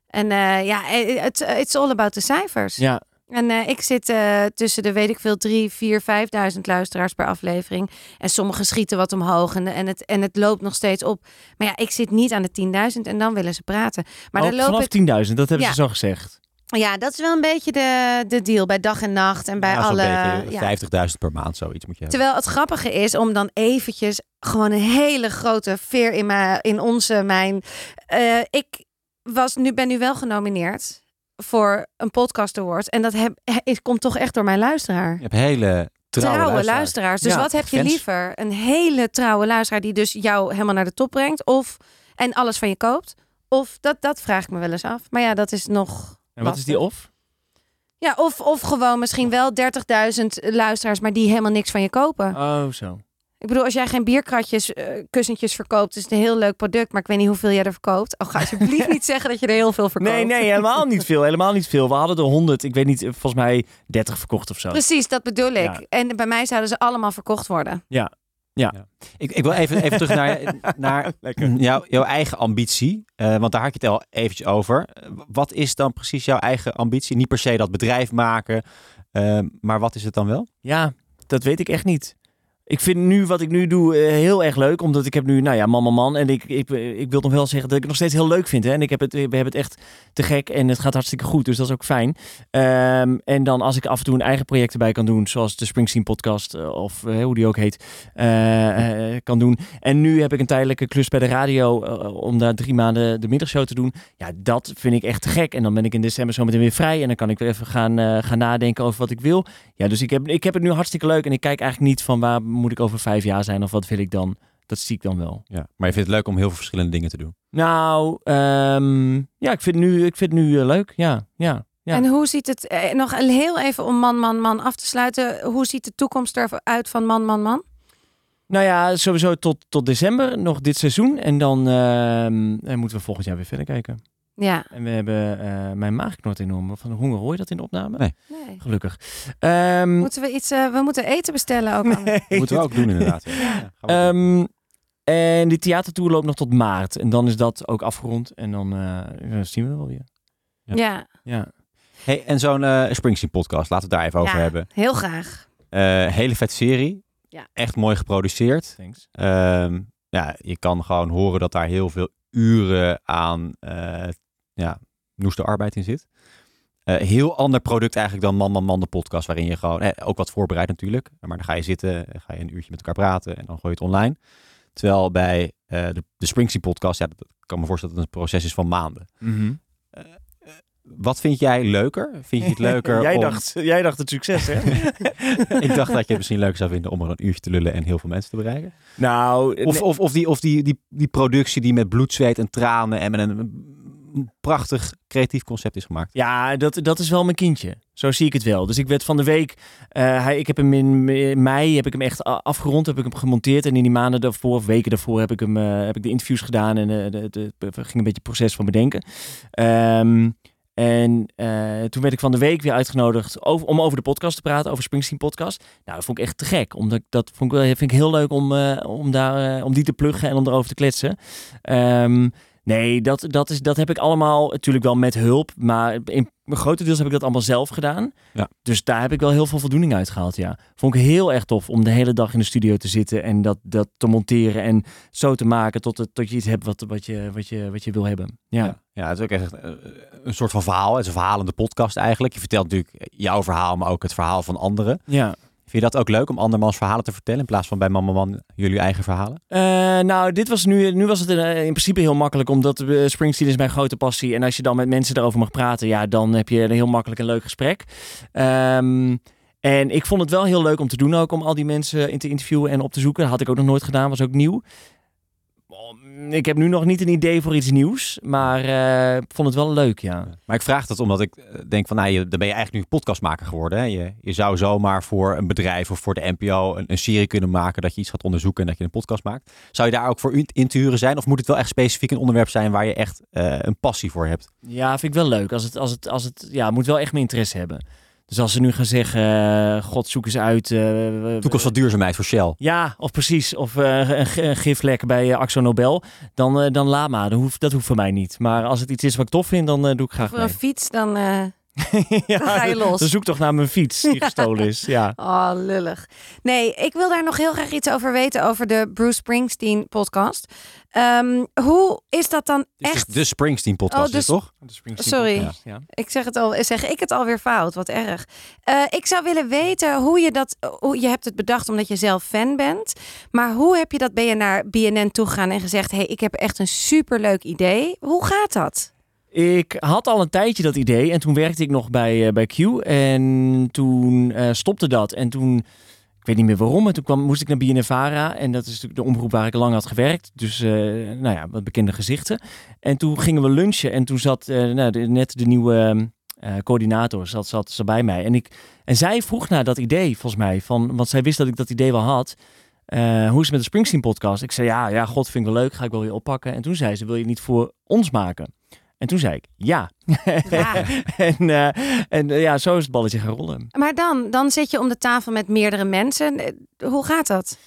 S2: En eh, ja, eh, het it's all about de cijfers.
S4: Ja.
S2: En eh, ik zit eh, tussen de, weet ik veel, drie, vier, vijfduizend luisteraars per aflevering. En sommigen schieten wat omhoog en, en, het, en het loopt nog steeds op. Maar ja, ik zit niet aan de 10.000 en dan willen ze praten. Maar
S4: Oh,
S2: dan loop
S4: vanaf
S2: ik...
S4: 10.000, dat hebben
S2: Ja.
S4: ze zo gezegd.
S2: Ja, dat is wel een beetje de, de deal bij dag en nacht en bij
S3: Ja, zo'n
S2: alle...
S3: beetje
S2: ja.
S3: 50.000 per maand, zoiets moet je hebben.
S2: Terwijl het grappige is om dan eventjes gewoon een hele grote veer in, mijn, in onze mijn. Eh, ik was nu, ben nu wel genomineerd voor een podcast award. En dat heb, he- het komt toch echt door mijn luisteraar.
S3: Je hebt hele trouwe, luisteraars.
S2: Dus
S4: Ja,
S2: wat heb je
S3: fans.
S2: liever? Een hele trouwe luisteraar die dus jou helemaal naar de top brengt. Of en alles van je koopt. Of dat, dat vraag ik me wel eens af. Maar ja, dat is nog.
S4: En wat is die off?
S2: Ja, of, of gewoon misschien wel 30.000 luisteraars, maar die helemaal niks van je kopen.
S4: Oh, zo.
S2: Ik bedoel, als jij geen bierkratjes, eh, kussentjes verkoopt, is het een heel leuk product, maar ik weet niet hoeveel jij er verkoopt. Oh, ga alsjeblieft niet zeggen dat je er heel veel verkoopt.
S4: Nee, nee, helemaal niet veel. Helemaal niet veel. We hadden er 100, ik weet niet, eh, volgens mij 30 verkocht of zo.
S2: Precies, dat bedoel ik.
S4: Ja.
S2: En bij mij zouden ze allemaal verkocht worden.
S3: Ik, ik wil even, even terug naar, naar
S4: Lekker.
S3: jouw, jouw eigen ambitie. Eh, want daar had je het al eventjes over. Eh, Wat is dan precies jouw eigen ambitie? Niet per se dat bedrijf maken. eh, maar ehm, wat is het dan wel?
S4: Ja, dat weet ik echt niet. Ik vind nu wat ik nu doe eh, heel erg leuk. Omdat ik heb nu, nou ja, mama man. En ik, ik, eh, ik wil nog wel zeggen dat ik het nog steeds heel leuk vind. Hè? En ik heb het, we hebben het echt te gek. En het gaat hartstikke goed. Dus dat is ook fijn. Ehm, en dan als ik af en toe een eigen project erbij kan doen. Zoals de Springsteen podcast. eh, of eh, hoe die ook heet. eh, eh, kan doen. En nu heb ik een tijdelijke klus bij de radio. eh, om daar drie maanden de middagshow te doen. Ja, dat vind ik echt te gek. En dan ben ik in december zometeen weer vrij. En dan kan ik weer even gaan, eh, gaan nadenken over wat ik wil. Ja, dus ik heb, ik heb het nu hartstikke leuk. En ik kijk eigenlijk niet van waar moet ik over vijf jaar zijn of wat wil ik dan. Dat zie ik dan wel.
S3: Ja. Maar je vindt het leuk om heel veel verschillende dingen te doen.
S4: Nou, ehm, ja, ik vind het nu, ik vind het nu eh, leuk. Ja, ja. Ja.
S2: En hoe ziet het, eh, nog een- heel even om man, man, man af te sluiten. Hoe ziet de toekomst eruit van man, man, man?
S4: Nou ja, sowieso tot, tot december nog dit seizoen. En dan ehm, eh, moeten we volgend jaar weer verder kijken.
S2: Ja.
S4: En we hebben eh, mijn maag knort enorm. Van de honger hoor je dat in de opname?
S3: Nee.
S2: Nee.
S4: Gelukkig. Ehm,
S2: Moeten we iets, eh, we moeten eten bestellen ook. Anne.
S4: nee,
S3: moeten we ook doen inderdaad. Ja. Ja, gaan we doen.
S4: Ehm, en die theatertour loopt nog tot maart. En dan is dat ook afgerond. En dan eh, dan zien we wel weer.
S2: Ja,
S3: Ja.
S2: ja.
S4: Ja.
S3: hey, en zo'n eh, Springsteen podcast, laten we het daar even over hebben.
S2: heel graag.
S3: Eh, hele vet serie.
S2: Ja.
S3: Echt mooi geproduceerd.
S4: Thanks.
S3: Ehm, ja, je kan gewoon horen dat daar heel veel uren aan eh ja, noeste arbeid in zit. Eh, heel ander product eigenlijk dan Man Man Man de podcast, waarin je gewoon eh, ook wat voorbereidt natuurlijk. Maar dan ga je zitten, eh, ga je een uurtje met elkaar praten en dan gooi je het online. Terwijl bij eh, de, de Springsteen podcast, ja, dat dat kan me voorstellen dat het een proces is van maanden. Wat vind jij leuker? Vind je het leuker
S4: jij,
S3: om...
S4: dacht, jij dacht het succes, hè?
S3: Ik dacht dat je het misschien leuker zou vinden om er een uurtje te lullen en heel veel mensen te bereiken.
S4: nou,
S3: Of, of, of, die, of die, die, die productie die met bloed, zweet en tranen en met een prachtig creatief concept is gemaakt.
S4: Ja, dat, dat is wel mijn kindje. Zo zie ik het wel. Dus ik werd van de week. eh, hij, ik heb hem in, in mei heb ik hem echt a- afgerond, heb ik hem gemonteerd. En in die maanden daarvoor, of weken daarvoor, heb ik, hem, eh, heb ik de interviews gedaan. En eh, de- de- het ging een beetje het proces van bedenken. Ehm, en eh, toen werd ik van de week weer uitgenodigd over, om over de podcast te praten, over Springsteen podcast. Nou, dat vond ik echt te gek. Omdat ik- dat vond ik, wel, vind ik heel leuk om, eh, om, daar, eh, om die te pluggen en om erover te kletsen. Ehm, nee, dat, dat, is, dat heb ik allemaal natuurlijk wel met hulp. Maar in grotendeels heb ik dat allemaal zelf gedaan.
S3: Ja.
S4: Dus daar heb ik wel heel veel voldoening uit gehaald, ja. Vond ik heel erg tof om de hele dag in de studio te zitten en dat, dat te monteren en zo te maken tot, het, tot je iets hebt wat, wat, je, wat, je, wat je wil hebben. Ja.
S3: ja het is ook echt eh, een soort van verhaal. Het is een verhalende podcast eigenlijk. Je vertelt natuurlijk jouw verhaal, maar ook het verhaal van anderen.
S4: ja.
S3: Vind je dat ook leuk om andermans verhalen te vertellen in plaats van bij Mama Man jullie eigen verhalen?
S4: Eh, nou, dit was nu, nu was het in, eh, in principe heel makkelijk, omdat eh, Springsteen is mijn grote passie. En als je dan met mensen daarover mag praten, ja, dan heb je een heel makkelijk een leuk gesprek. Ehm, en ik vond het wel heel leuk om te doen ook, om al die mensen in te interviewen en op te zoeken. Dat had ik ook nog nooit gedaan, was ook nieuw. Om, Ik heb nu nog niet een idee voor iets nieuws, maar eh, ik vond het wel leuk, ja.
S3: Maar ik vraag dat omdat ik eh, denk van, nou, je, dan ben je eigenlijk nu podcastmaker geworden. Hè? Je, je zou zomaar voor een bedrijf of voor de NPO een, een serie kunnen maken dat je iets gaat onderzoeken en dat je een podcast maakt. Zou je daar ook voor in in te huren zijn? Of moet het wel echt specifiek een onderwerp zijn waar je echt eh, een passie voor hebt?
S4: Ja, vind ik wel leuk. Als het, als het, als het, ja, moet wel echt mijn interesse hebben. Dus als ze nu gaan zeggen, eh, god, zoek eens uit. eh, we- we-
S3: Toekomst van duurzaamheid voor Shell.
S4: Ja, of precies. Of eh, een g- een giflek bij eh, Axo Nobel. Dan, eh dan laat maar. Dat hoeft, dat hoeft voor mij niet. Maar als het iets is wat ik tof vind, dan eh, doe ik graag
S2: Voor een
S4: mee.
S2: fiets dan. eh,
S4: ja,
S2: dan ga je los.
S4: Dan zoek toch naar mijn fiets die gestolen is. Ja.
S2: Oh, lullig. Nee, ik wil daar nog heel graag iets over weten over de Bruce Springsteen podcast. Ehm, hoe is dat dan
S3: Dus
S2: echt?
S3: De Springsteen podcast,
S2: Oh,
S3: is
S2: dus-
S3: het toch?
S2: Sorry. podcast, Ik zeg het al, zeg ik het alweer fout, wat erg. Eh, ik zou willen weten hoe je dat, hoe, je hebt het bedacht omdat je zelf fan bent, maar hoe heb je dat, ben je naar BNN toegegaan en gezegd, hey, ik heb echt een superleuk idee. Hoe gaat dat?
S4: Ik had al een tijdje dat idee en toen werkte ik nog bij, eh, bij Q. En toen eh, stopte dat. En toen, ik weet niet meer waarom, en toen kwam, moest ik naar BNNVARA. En dat is natuurlijk de omroep waar ik lang had gewerkt. Dus, eh, nou ja, wat bekende gezichten. En toen gingen we lunchen en toen zat eh, nou, de- net de nieuwe eh, coördinator zat, zat ze bij mij. En, ik, en zij vroeg naar dat idee, volgens mij. Van, want zij wist dat ik dat idee wel had. Eh, hoe is het met de Springsteen podcast? Ik zei, ja, ja, god, vind ik wel leuk. Ga ik wel weer oppakken. En toen zei ze, wil je het niet voor ons maken? En toen zei ik ja.
S2: Ja.
S4: en eh, en eh, ja, zo is het balletje gaan rollen.
S2: Maar dan, dan zit je om de tafel met meerdere mensen. Eh, Hoe gaat dat?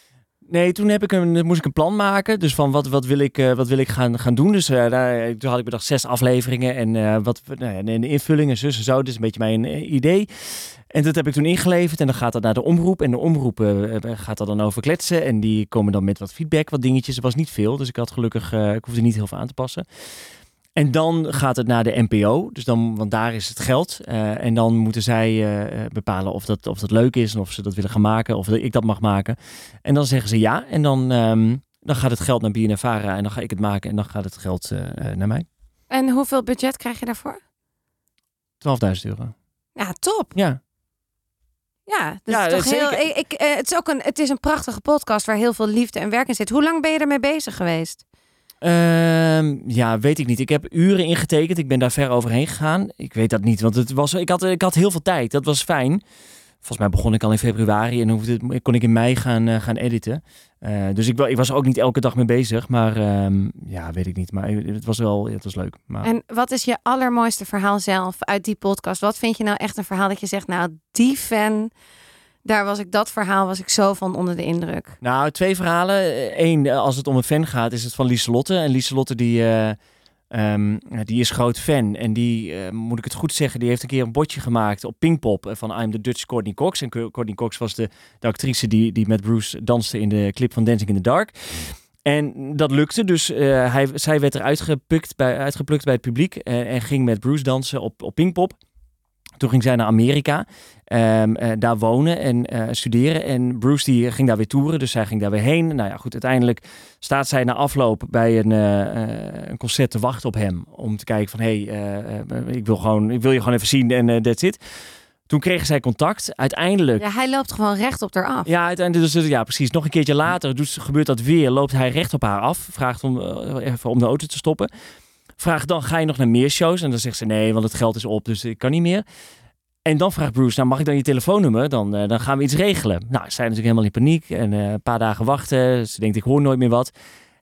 S4: Nee, toen heb ik een, moest ik een plan maken. Dus van wat, wat wil ik, eh, wat wil ik gaan, gaan doen. Dus eh, daar, toen had ik bedacht zes afleveringen. En eh, wat, nou ja, en de invullingen, zus en zo. Dus een beetje mijn eh, idee. En dat heb ik toen ingeleverd. En dan gaat dat naar de omroep. En de omroep eh, eh, gaat dat dan over kletsen. En die komen dan met wat feedback, wat dingetjes. Er was niet veel. Dus ik had gelukkig, eh, ik hoefde niet heel veel aan te passen. En dan gaat het naar de NPO. Dus dan, want daar is het geld. Eh, en dan moeten zij eh, eh, bepalen of dat, of dat leuk is. En of ze dat willen gaan maken. Of dat ik dat mag maken. En dan zeggen ze ja. En dan, ehm, dan gaat het geld naar BNNVARA. En dan ga ik het maken. En dan gaat het geld eh, eh, naar mij.
S2: En hoeveel budget krijg je daarvoor?
S4: 12.000 euro.
S2: Ja, top.
S4: Ja.
S2: Ja, dat
S4: Ja,
S2: is toch
S4: dat
S2: heel.
S4: zeker.
S2: Ik, ik, eh, het, is ook een, het is een prachtige podcast waar heel veel liefde en werk in zit. Hoe lang ben je ermee bezig geweest?
S4: Ehm, ja, weet ik niet. Ik heb uren ingetekend. Ik ben daar ver overheen gegaan. Ik weet dat niet, want het was, ik, had, ik had heel veel tijd. Dat was fijn. Volgens mij begon ik al in februari en hoefde, het- kon ik in mei gaan, eh, gaan editen. Eh, dus ik, wa- ik was er ook niet elke dag mee bezig. Maar ehm, ja, weet ik niet. Maar eh, het was wel het was leuk. Maar...
S2: En wat is je allermooiste verhaal zelf uit die podcast? Wat vind je nou echt een verhaal dat je zegt, nou, die fan, daar was ik dat verhaal, was ik zo van onder de indruk.
S4: Nou, twee verhalen. Eén, eh, als het om een fan gaat, is het van Lieselotte. En Lieselotte die, eh, ehm, die is groot fan. En die, eh, moet ik het goed zeggen, die heeft een keer een botje gemaakt op Pinkpop eh, van I'm the Dutch Courtney Cox. En Co- Courtney Cox was de, de actrice die, die met Bruce danste in de clip van Dancing in the Dark. En dat lukte, dus eh, hij, zij werd eruit gepukt bij, uitgeplukt bij het publiek eh, en ging met Bruce dansen op, op Pinkpop. Toen ging zij naar Amerika, ehm, eh, daar wonen en eh, studeren. En Bruce die ging daar weer toeren, dus zij ging daar weer heen. Nou ja, goed, uiteindelijk staat zij na afloop bij een, eh, eh, een concert te wachten op hem. Om te kijken van, hé, hey, eh, eh, ik, wil gewoon- ik wil je gewoon even zien en dat that's it. Toen kregen zij contact. Uiteindelijk
S2: Ja, hij loopt gewoon recht op haar af.
S4: ja, uiteindelijk, dus, ja, precies. Nog een keertje later doet, ze- gebeurt dat weer. Loopt hij recht op haar af. Vraagt om, eh, even om de auto te stoppen. Vraagt dan, ga je nog naar meer shows? En dan zegt ze, nee, want het geld is op, dus ik kan niet meer. En dan vraagt Bruce, nou mag ik dan je telefoonnummer? Dan, eh, dan gaan we iets regelen. Nou, zij natuurlijk helemaal in paniek. En eh, een paar dagen wachten. Ze denkt, ik hoor nooit meer wat.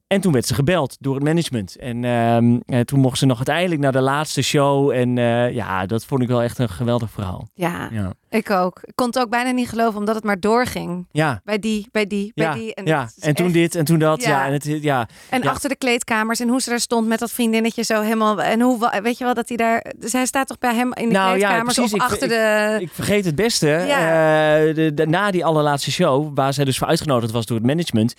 S4: En toen werd ze gebeld door het management. En ehm, eh, toen mocht ze nog uiteindelijk naar de laatste show. En eh, ja, dat vond ik wel echt een geweldig verhaal.
S2: Ja,
S4: Ja,
S2: ik ook. Ik kon het ook bijna niet geloven, omdat het maar doorging.
S4: ja
S2: Bij die, bij die, bij
S4: ja,
S2: die. En,
S4: ja.
S2: het is
S4: en toen
S2: echt-
S4: dit en toen dat. Ja,
S2: Ja.
S4: en het, ja.
S2: en
S4: ja.
S2: achter de kleedkamers en hoe ze daar stond met dat vriendinnetje zo helemaal. En hoe, wa- weet je wel, dat hij daar... Dus hij staat toch bij hem in de
S4: Nou ja,
S2: kleedkamers
S4: precies.
S2: of
S4: Ik-
S2: achter
S4: ik-
S2: de...
S4: ik vergeet het beste.
S2: Eh, Ja.
S4: eh, de, de- na die allerlaatste show, waar zij dus voor uitgenodigd was door het management,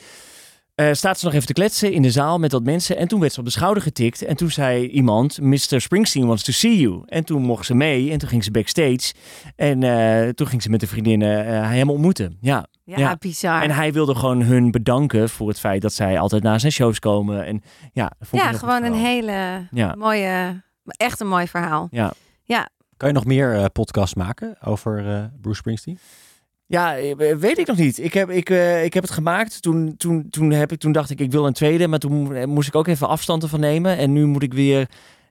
S4: eh, staat ze nog even te kletsen in de zaal met wat mensen. En toen werd ze op de schouder getikt. En toen zei iemand, Mr. Springsteen wants to see you. En toen mocht ze mee en toen ging ze backstage. En eh, toen ging ze met de vriendinnen eh, hem ontmoeten. Ja.
S2: ja,
S4: ja.
S2: bizar.
S4: En hij wilde gewoon hun bedanken voor het feit dat zij altijd naar zijn shows komen. En ja, dat vond
S2: ja,
S4: ik heel goed
S2: gewoon een
S4: verhaal.
S2: hele
S4: Ja.
S2: mooie... Echt een mooi verhaal.
S4: Ja.
S3: Kan je nog meer eh, podcasts maken over eh, Bruce Springsteen?
S4: Ja, eh, weet ik nog niet. Ik heb, ik, eh, ik heb het gemaakt. Toen, toen, toen, heb ik, toen dacht ik, ik wil een tweede. Maar toen eh, moest ik ook even afstand ervan nemen. En nu moet ik weer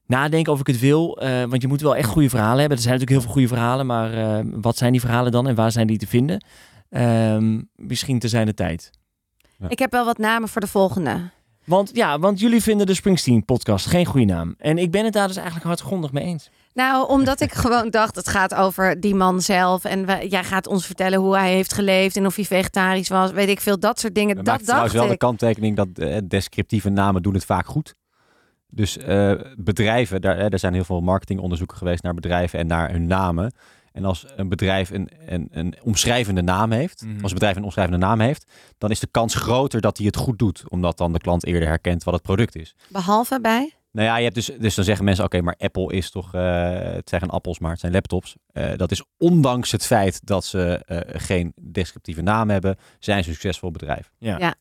S4: nadenken of ik het wil. Eh, want je moet wel echt goede verhalen hebben. Er zijn natuurlijk heel veel goede verhalen. Maar eh, wat zijn die verhalen dan en waar zijn die te vinden? Ehm, misschien te zijn de tijd.
S3: Ja.
S2: Ik heb wel wat namen voor de volgende.
S4: Want ja, want jullie vinden de Springsteen-podcast geen goede naam. En ik ben het daar dus eigenlijk hardgrondig mee eens.
S2: Nou, omdat ik gewoon dacht, het gaat over die man zelf. En we- jij gaat ons vertellen hoe hij heeft geleefd en of hij vegetarisch was. Weet ik veel, dat soort dingen.
S3: We
S2: dat
S3: maakten
S2: dacht
S3: trouwens wel de
S2: ik.
S3: kanttekening dat eh, descriptieve namen doen het vaak goed. Dus eh, bedrijven, daar, hè, er zijn heel veel marketingonderzoeken geweest naar bedrijven en naar hun namen. En als een bedrijf een, een, een omschrijvende naam heeft,
S4: Mhm.
S3: als een bedrijf een omschrijvende naam heeft, dan is de kans groter dat hij het goed doet, omdat dan de klant eerder herkent wat het product is.
S2: Behalve bij...
S3: Nou ja, je hebt dus, dus dan zeggen mensen, oké, maar Apple is toch, eh, het zijn geen appels, maar het zijn laptops. Eh, dat is ondanks het feit dat ze eh, geen descriptieve naam hebben, zijn ze een succesvol bedrijf.
S4: Ja.
S2: Ja.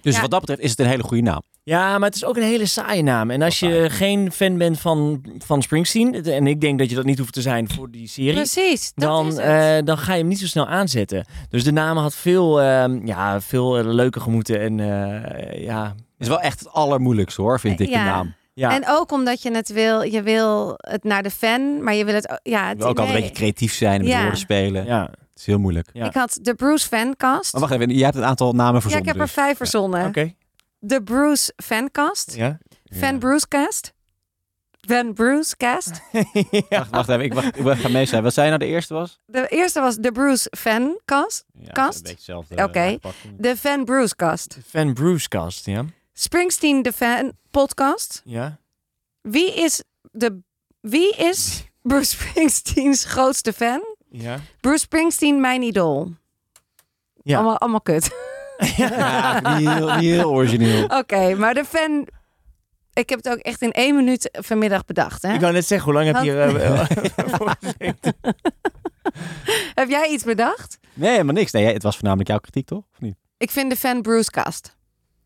S3: Dus
S2: Ja.
S3: wat dat betreft is het een hele goede naam.
S4: Ja, maar het is ook een hele saaie naam. En als je geen fan bent van, van Springsteen, het- en ik denk dat je dat niet hoeft te zijn voor die serie,
S2: Precies, dat
S4: dan,
S2: is het.
S4: eh, dan ga je hem niet zo snel aanzetten. Dus de naam had veel, ehm, ja, veel eh, leuker gemoeten. En eh, ja,
S3: Is wel echt het allermoeilijkste hoor, vind ik,
S2: Ja.
S3: de naam.
S4: ja.
S2: En ook omdat je het wil, je wil het naar de fan, maar je wil het ook- ja,
S3: Je
S2: het,
S3: wil ook altijd
S2: nee.
S3: een beetje creatief zijn, en met
S2: Ja.
S3: woorden spelen.
S4: eh, ja.
S3: Het is heel moeilijk.
S4: Ja.
S2: Ik had de Bruce fancast.
S3: Maar wacht even, jij hebt een aantal namen
S2: ja, ik
S3: verzonnen.
S2: heb er
S3: dus.
S2: vijf verzonnen.
S4: Oké.
S2: De Bruce fancast,
S4: Ja.
S2: fan Brucecast, Van Bruce cast.
S3: Wacht, wacht even, ik, wacht, ik ga meeschrijven. Wat zei je nou de eerste was?
S2: De eerste was de Bruce Van cast.
S3: Ja,
S2: Kast?
S3: Een beetje hetzelfde.
S2: Oké.
S3: aanpak.
S2: De Van Bruce cast.
S4: Van Bruce cast, ja.
S2: Springsteen de Fan podcast.
S4: Ja.
S2: Wie is, de, wie is Bruce Springsteens grootste fan?
S4: Ja.
S2: Bruce Springsteen, mijn idool.
S4: Ja.
S2: Allemaal, allemaal kut.
S3: Ja, niet heel, niet heel origineel.
S2: Oké, maar de fan... Ik heb het ook echt in één minuut vanmiddag bedacht. Hè?
S4: Ik wou net zeggen, hoe lang heb je... eh, voor gezeten?
S2: Heb jij iets bedacht?
S3: Nee, helemaal niks. Nee, het was voornamelijk jouw kritiek, toch? Of niet?
S2: Ik vind de fan Bruce cast.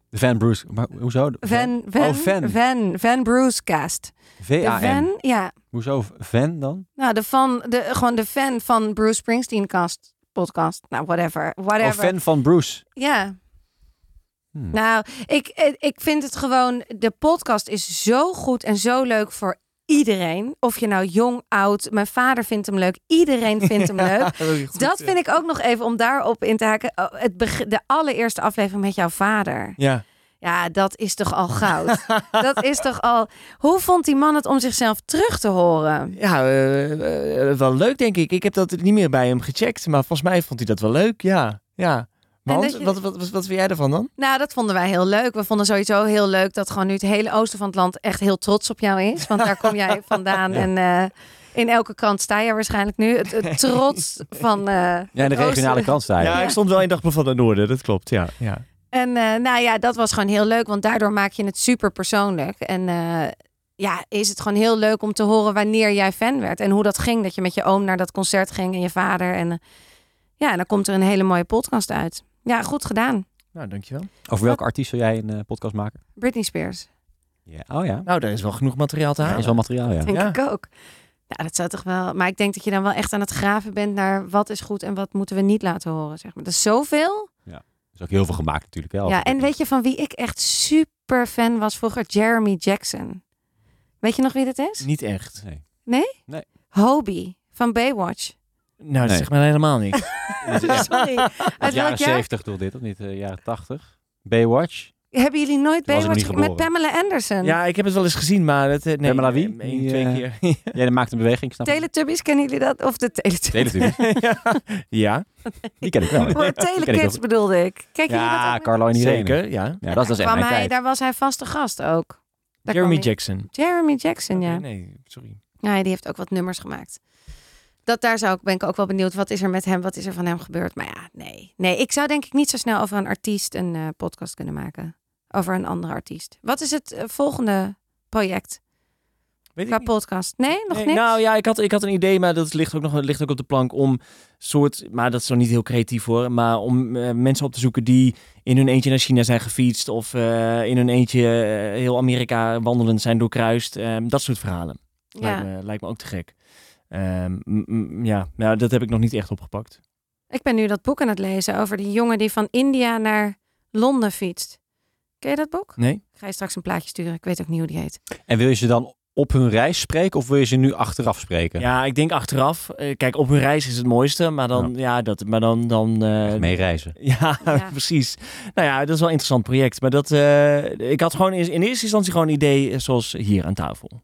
S3: De Van Bruce. Maar hoezo? De
S2: Van, van,
S3: Oh, fan.
S2: van, van Bruce cast. De
S3: V-A-N.
S2: fan, ja.
S3: Hoezo Van dan?
S2: Nou, de fan, de, gewoon de fan van Bruce Springsteen cast podcast. Nou, whatever. whatever.
S3: Of Oh, fan van Bruce.
S2: Ja.
S3: Hmm.
S2: Nou, ik, eh, ik vind het gewoon. De podcast is zo goed en zo leuk voor iedereen. Of je nou jong, oud. Mijn vader vindt hem leuk. Iedereen vindt hem leuk. Dat vind ik ook nog even om daarop in te haken. Oh, Het beg- de allereerste aflevering met jouw vader.
S4: Ja.
S2: Ja, dat is toch al goud. dat is toch al. Hoe vond die man het om zichzelf terug te horen?
S4: Ja, eh, eh, wel leuk denk ik. Ik heb dat niet meer bij hem gecheckt, maar volgens mij vond hij dat wel leuk, ja. Ja. Want,
S2: dat je-
S4: wat, wat, wat, wat vind jij ervan dan?
S2: Nou, dat vonden wij heel leuk. We vonden sowieso heel leuk dat gewoon nu het hele oosten van het land echt heel trots op jou is. Want daar kom jij vandaan. En eh, in elke krant sta je waarschijnlijk nu. Het, het trots van. eh,
S3: Ja, in de
S2: het
S3: regionale
S2: oosten.
S3: krant sta je.
S4: Ja, ik stond wel in Dagblad van het Noorden, dat klopt, ja. ja.
S2: En eh, nou ja, dat was gewoon heel leuk. Want daardoor maak je het super persoonlijk. En eh, ja, is het gewoon heel leuk om te horen wanneer jij fan werd. En hoe dat ging. Dat je met je oom naar dat concert ging en je vader. En eh, ja, en dan komt er een hele mooie podcast uit. Ja, goed gedaan.
S4: Nou, dankjewel.
S3: Over welke artiest wil jij een eh, podcast maken?
S2: Britney Spears.
S3: Ja. Oh ja.
S4: Nou, daar is wel genoeg materiaal te
S3: Ja,
S4: halen.
S3: is wel materiaal, ja.
S2: Denk
S4: Ja.
S2: ik ook. Ja, dat zou toch wel. Maar ik denk dat je dan wel echt aan het graven bent naar wat is goed en wat moeten we niet laten horen. Zeg maar. Dat is zoveel.
S3: Er is ook heel veel gemaakt natuurlijk. Wel.
S2: ja, en weet je van wie ik echt super fan was vroeger? Jeremy Jackson. Weet je nog wie dat is?
S4: Niet echt.
S3: Nee.
S2: Hobie van Baywatch.
S4: Nou, dat
S3: Nee.
S4: zegt mij helemaal niks.
S2: Sorry. Uit welk
S3: jaren
S2: jaar?
S3: zeventig doet dit, of niet? Eh, jaren tachtig. Baywatch.
S2: Hebben jullie nooit
S3: Toen was ik
S2: Baywatch
S3: nog niet
S2: gekeken? met
S3: geboren.
S2: Pamela Anderson?
S4: ja, ik heb het wel eens gezien, maar... Het, eh, nee,
S3: Pamela wie?
S4: eh, één,
S3: Die,
S4: twee
S3: eh,
S4: keer.
S3: Jij maakt een beweging, ik snap ik.
S2: Teletubbies, kennen jullie dat? Of de Teletubbies?
S3: Teletubbies.
S4: ja,
S3: Die ken ik wel. hè.
S2: Maar
S3: Ken ik
S2: Telekids
S3: heel-
S2: bedoelde ik. Kijk
S3: Ja,
S2: jullie dat ook?
S3: Carlo en Irene.
S4: zeker, ja.
S3: Ja, dat is, dat is echt
S2: Kwam
S3: mijn
S2: hij,
S3: tijd.
S2: daar was hij vaste gast ook. Daar
S4: Jeremy
S2: kwam hij-
S4: Jackson.
S2: Jeremy Jackson, ja.
S4: Oké, Nee, sorry.
S2: Ja, die heeft ook wat nummers gemaakt. Dat daar zou ik, ben ik ook wel benieuwd. Wat is er met hem? Wat is er van hem gebeurd? Maar ja, nee. Nee, ik zou denk ik niet zo snel over een artiest een eh, podcast kunnen maken. Over een andere artiest. Wat is het eh, volgende project
S4: Weet
S2: qua
S4: ik niet.
S2: podcast? Nee, nog
S4: Nee,
S2: niks?
S4: Nou ja, ik had, ik had een idee, maar dat ligt ook nog ligt ook op de plank om soort, maar dat is dan niet heel creatief hoor, maar om eh, mensen op te zoeken die in hun eentje naar China zijn gefietst of eh, in hun eentje eh, heel Amerika wandelend zijn doorkruist. Ehm, dat soort verhalen. Lijkt,
S2: ja.
S4: me, lijkt me ook te gek. Ehm, m- m- ja, nou, dat heb ik nog niet echt opgepakt.
S2: Ik ben nu dat boek aan het lezen over die jongen die van India naar Londen fietst. Ken je dat boek?
S4: Nee?
S2: Ik ga je straks een plaatje sturen. Ik weet ook niet hoe die heet.
S3: En wil je ze dan op hun reis spreken of wil je ze nu achteraf
S4: Ja,
S3: spreken?
S4: ik denk achteraf. eh, kijk, op hun reis is het mooiste, maar dan, ja. dat, maar dan, dan eh,
S3: Echt meereizen.
S4: Ja,
S2: Ja.
S4: precies. Nou ja, dat is wel een interessant project. Maar dat, eh, ik had gewoon in, in eerste instantie gewoon een idee eh, zoals hier aan tafel.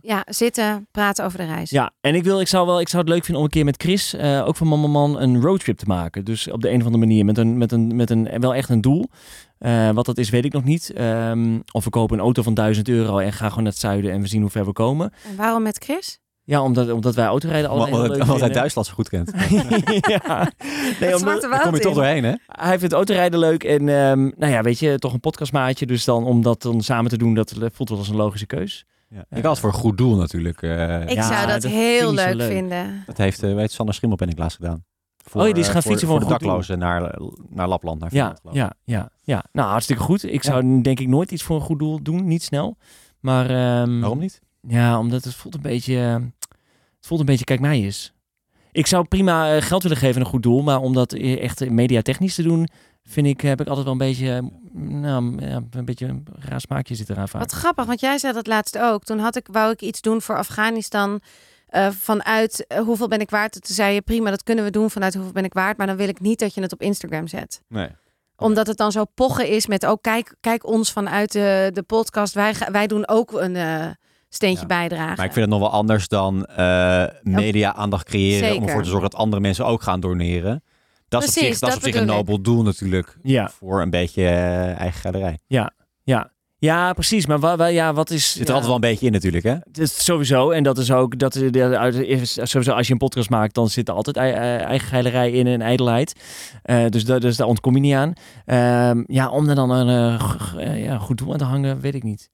S2: Ja, zitten, praten over de reis.
S4: Ja, en ik, wil, ik, zou wel, ik zou het leuk vinden om een keer met Chris, eh, ook van Mama Man, een roadtrip te maken. Dus op de een of andere manier, met een, met een, met een wel echt een doel. Eh, wat dat is, weet ik nog niet. Ehm, of we kopen een auto van 1000 euro en gaan gewoon naar het zuiden en we zien hoe ver we komen.
S2: En waarom met Chris?
S4: Ja, omdat, omdat wij autorijden altijd heel leuk
S3: Omdat omdat hij
S4: vinden.
S3: Duitsland zo goed kent.
S4: ja. Nee,
S2: Het
S4: omdat-
S2: Zwarte
S3: Daar
S2: Woud
S3: kom je
S2: in.
S3: toch doorheen, hè?
S4: Hij vindt autorijden leuk en ehm, nou ja, weet je, toch een podcastmaatje. Dus dan om dat dan samen te doen, dat voelt wel als een logische keus.
S3: Ik had het voor een goed doel natuurlijk. eh,
S2: Ik
S4: Ja,
S2: zou dat,
S4: dat
S2: heel
S4: vind ik zo
S2: leuk,
S4: leuk.
S2: vinden.
S3: Dat heeft, eh, weet Sander Schimmel ben ik laatst gedaan. Voor,
S4: Oh ja, die is
S3: eh,
S4: gaan fietsen voor
S3: de
S4: een goed doel.
S3: daklozen naar, eh, naar Lapland. Naar
S4: Ja,
S3: Finland, geloof ik.
S4: ja, ja, ja. Nou, hartstikke goed. Ik zou denk ik nooit iets voor een goed doel doen, niet snel. Maar ehm,
S3: Waarom niet?
S4: Ja, omdat het voelt een beetje, eh, het voelt een beetje kijk mij is. Ik zou prima eh, geld willen geven aan een goed doel, maar om dat eh, echt mediatechnisch te doen, vind ik, heb ik altijd wel een beetje, eh, nou, ja, een beetje een raar smaakje zit eraan vaak.
S2: Wat grappig, want jij zei dat laatst ook. Toen had ik, wou ik iets doen voor Afghanistan. eh, vanuit eh, hoeveel ben ik waard? Toen zei je prima, dat kunnen we doen vanuit hoeveel ben ik waard. Maar dan wil ik niet dat je het op Instagram zet.
S3: Nee.
S2: Omdat het dan zo oh, pochen is met ook kijk, kijk ons vanuit de, de podcast. Wij, ga- wij doen ook een eh, steentje
S3: Ja.
S2: bijdragen.
S3: Maar ik vind het nog wel anders dan eh, media-aandacht creëren om
S2: Zeker.
S3: ervoor te zorgen dat andere mensen ook gaan doneren. Dat is op
S2: Precies,
S3: zich, dat is op
S2: dat
S3: zich een
S2: bedoel ik.
S3: nobel doel natuurlijk
S4: Ja,
S3: voor een beetje eh, eigen galerij.
S4: ja. Ja, precies. Maar wa- wa- ja, wat is...
S3: Zit er
S4: ja.
S3: altijd wel een beetje in natuurlijk, hè?
S4: Het is sowieso, en dat is ook, dat is, dat is- sowieso als je een podcast maakt, dan zit er altijd ei- eh, eigen geilerij in en ijdelheid. Eh, dus, da- dus daar ontkom je niet aan. Ehm, ja, om er dan een eh, g- g- eh, ja, goed doel aan te hangen, weet ik niet.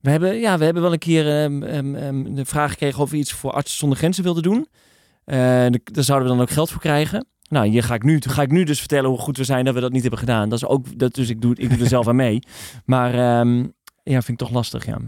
S4: We hebben, ja, we hebben wel een keer ehm, ehm, ehm, de vraag gekregen of we iets voor Artsen zonder Grenzen wilden doen. Eh, daar- daar zouden we dan ook geld voor krijgen. Nou, hier ga ik nu, ga ik nu dus vertellen hoe goed we zijn dat we dat niet hebben gedaan. Dat is ook, dat, dus ik doe, ik doe er zelf aan mee. Maar ehm, ja, vind ik toch lastig, ja.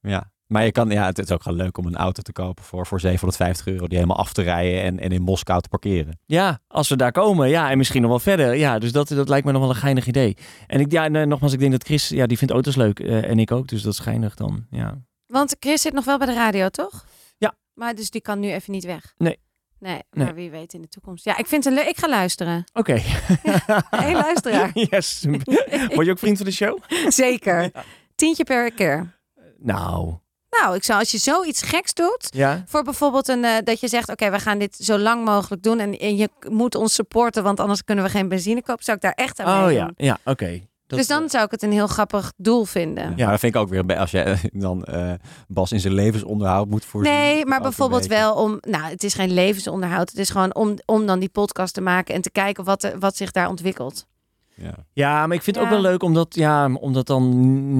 S3: Ja. Maar je kan, ja, het is ook gewoon leuk om een auto te kopen voor, voor 750 euro. Die helemaal af te rijden en, en in Moskou te parkeren.
S4: Ja, als we daar komen. Ja, en misschien nog wel verder. Ja, dus dat, dat lijkt me nog wel een geinig idee. En ik, ja, nee, nogmaals, ik denk dat Chris, ja, die vindt auto's leuk. eh, en ik ook, dus dat is geinig dan. Ja.
S2: Want Chris zit nog wel bij de radio, toch?
S4: Ja.
S2: Maar dus die kan nu even niet weg.
S4: Nee.
S2: Nee,
S4: Nee.
S2: maar wie weet in de toekomst. Ja, ik vind het leuk. Ik ga luisteren.
S4: Oké.
S2: Hey, luisteraar.
S4: Yes. Word je ook vriend van de show?
S2: Zeker. Tientje per keer.
S4: Nou.
S2: Nou, ik zou als je zoiets geks doet,
S4: Ja.
S2: Voor bijvoorbeeld een, eh, dat je zegt, oké, we gaan dit zo lang mogelijk doen. En, en je moet ons supporten, want anders kunnen we geen benzine kopen. Zou ik daar echt aan
S4: Oh
S2: meedoen.
S4: ja, ja, oké. Dat-
S2: Dus
S4: eh,
S2: dan zou ik het een heel grappig doel vinden.
S3: Maar dat vind ik ook weer, een be- als je eh, dan eh, Bas in zijn levensonderhoud moet voorzien.
S2: Nee,
S3: ook
S2: maar
S3: een
S2: bijvoorbeeld
S3: beetje.
S2: wel om... Nou, het is geen levensonderhoud. Het is gewoon om, om dan die podcast te maken en te kijken wat, er- wat zich daar ontwikkelt.
S3: Ja.
S4: Ja, maar ik vind het ook
S2: Ja.
S4: wel leuk om dat, ja, om dat dan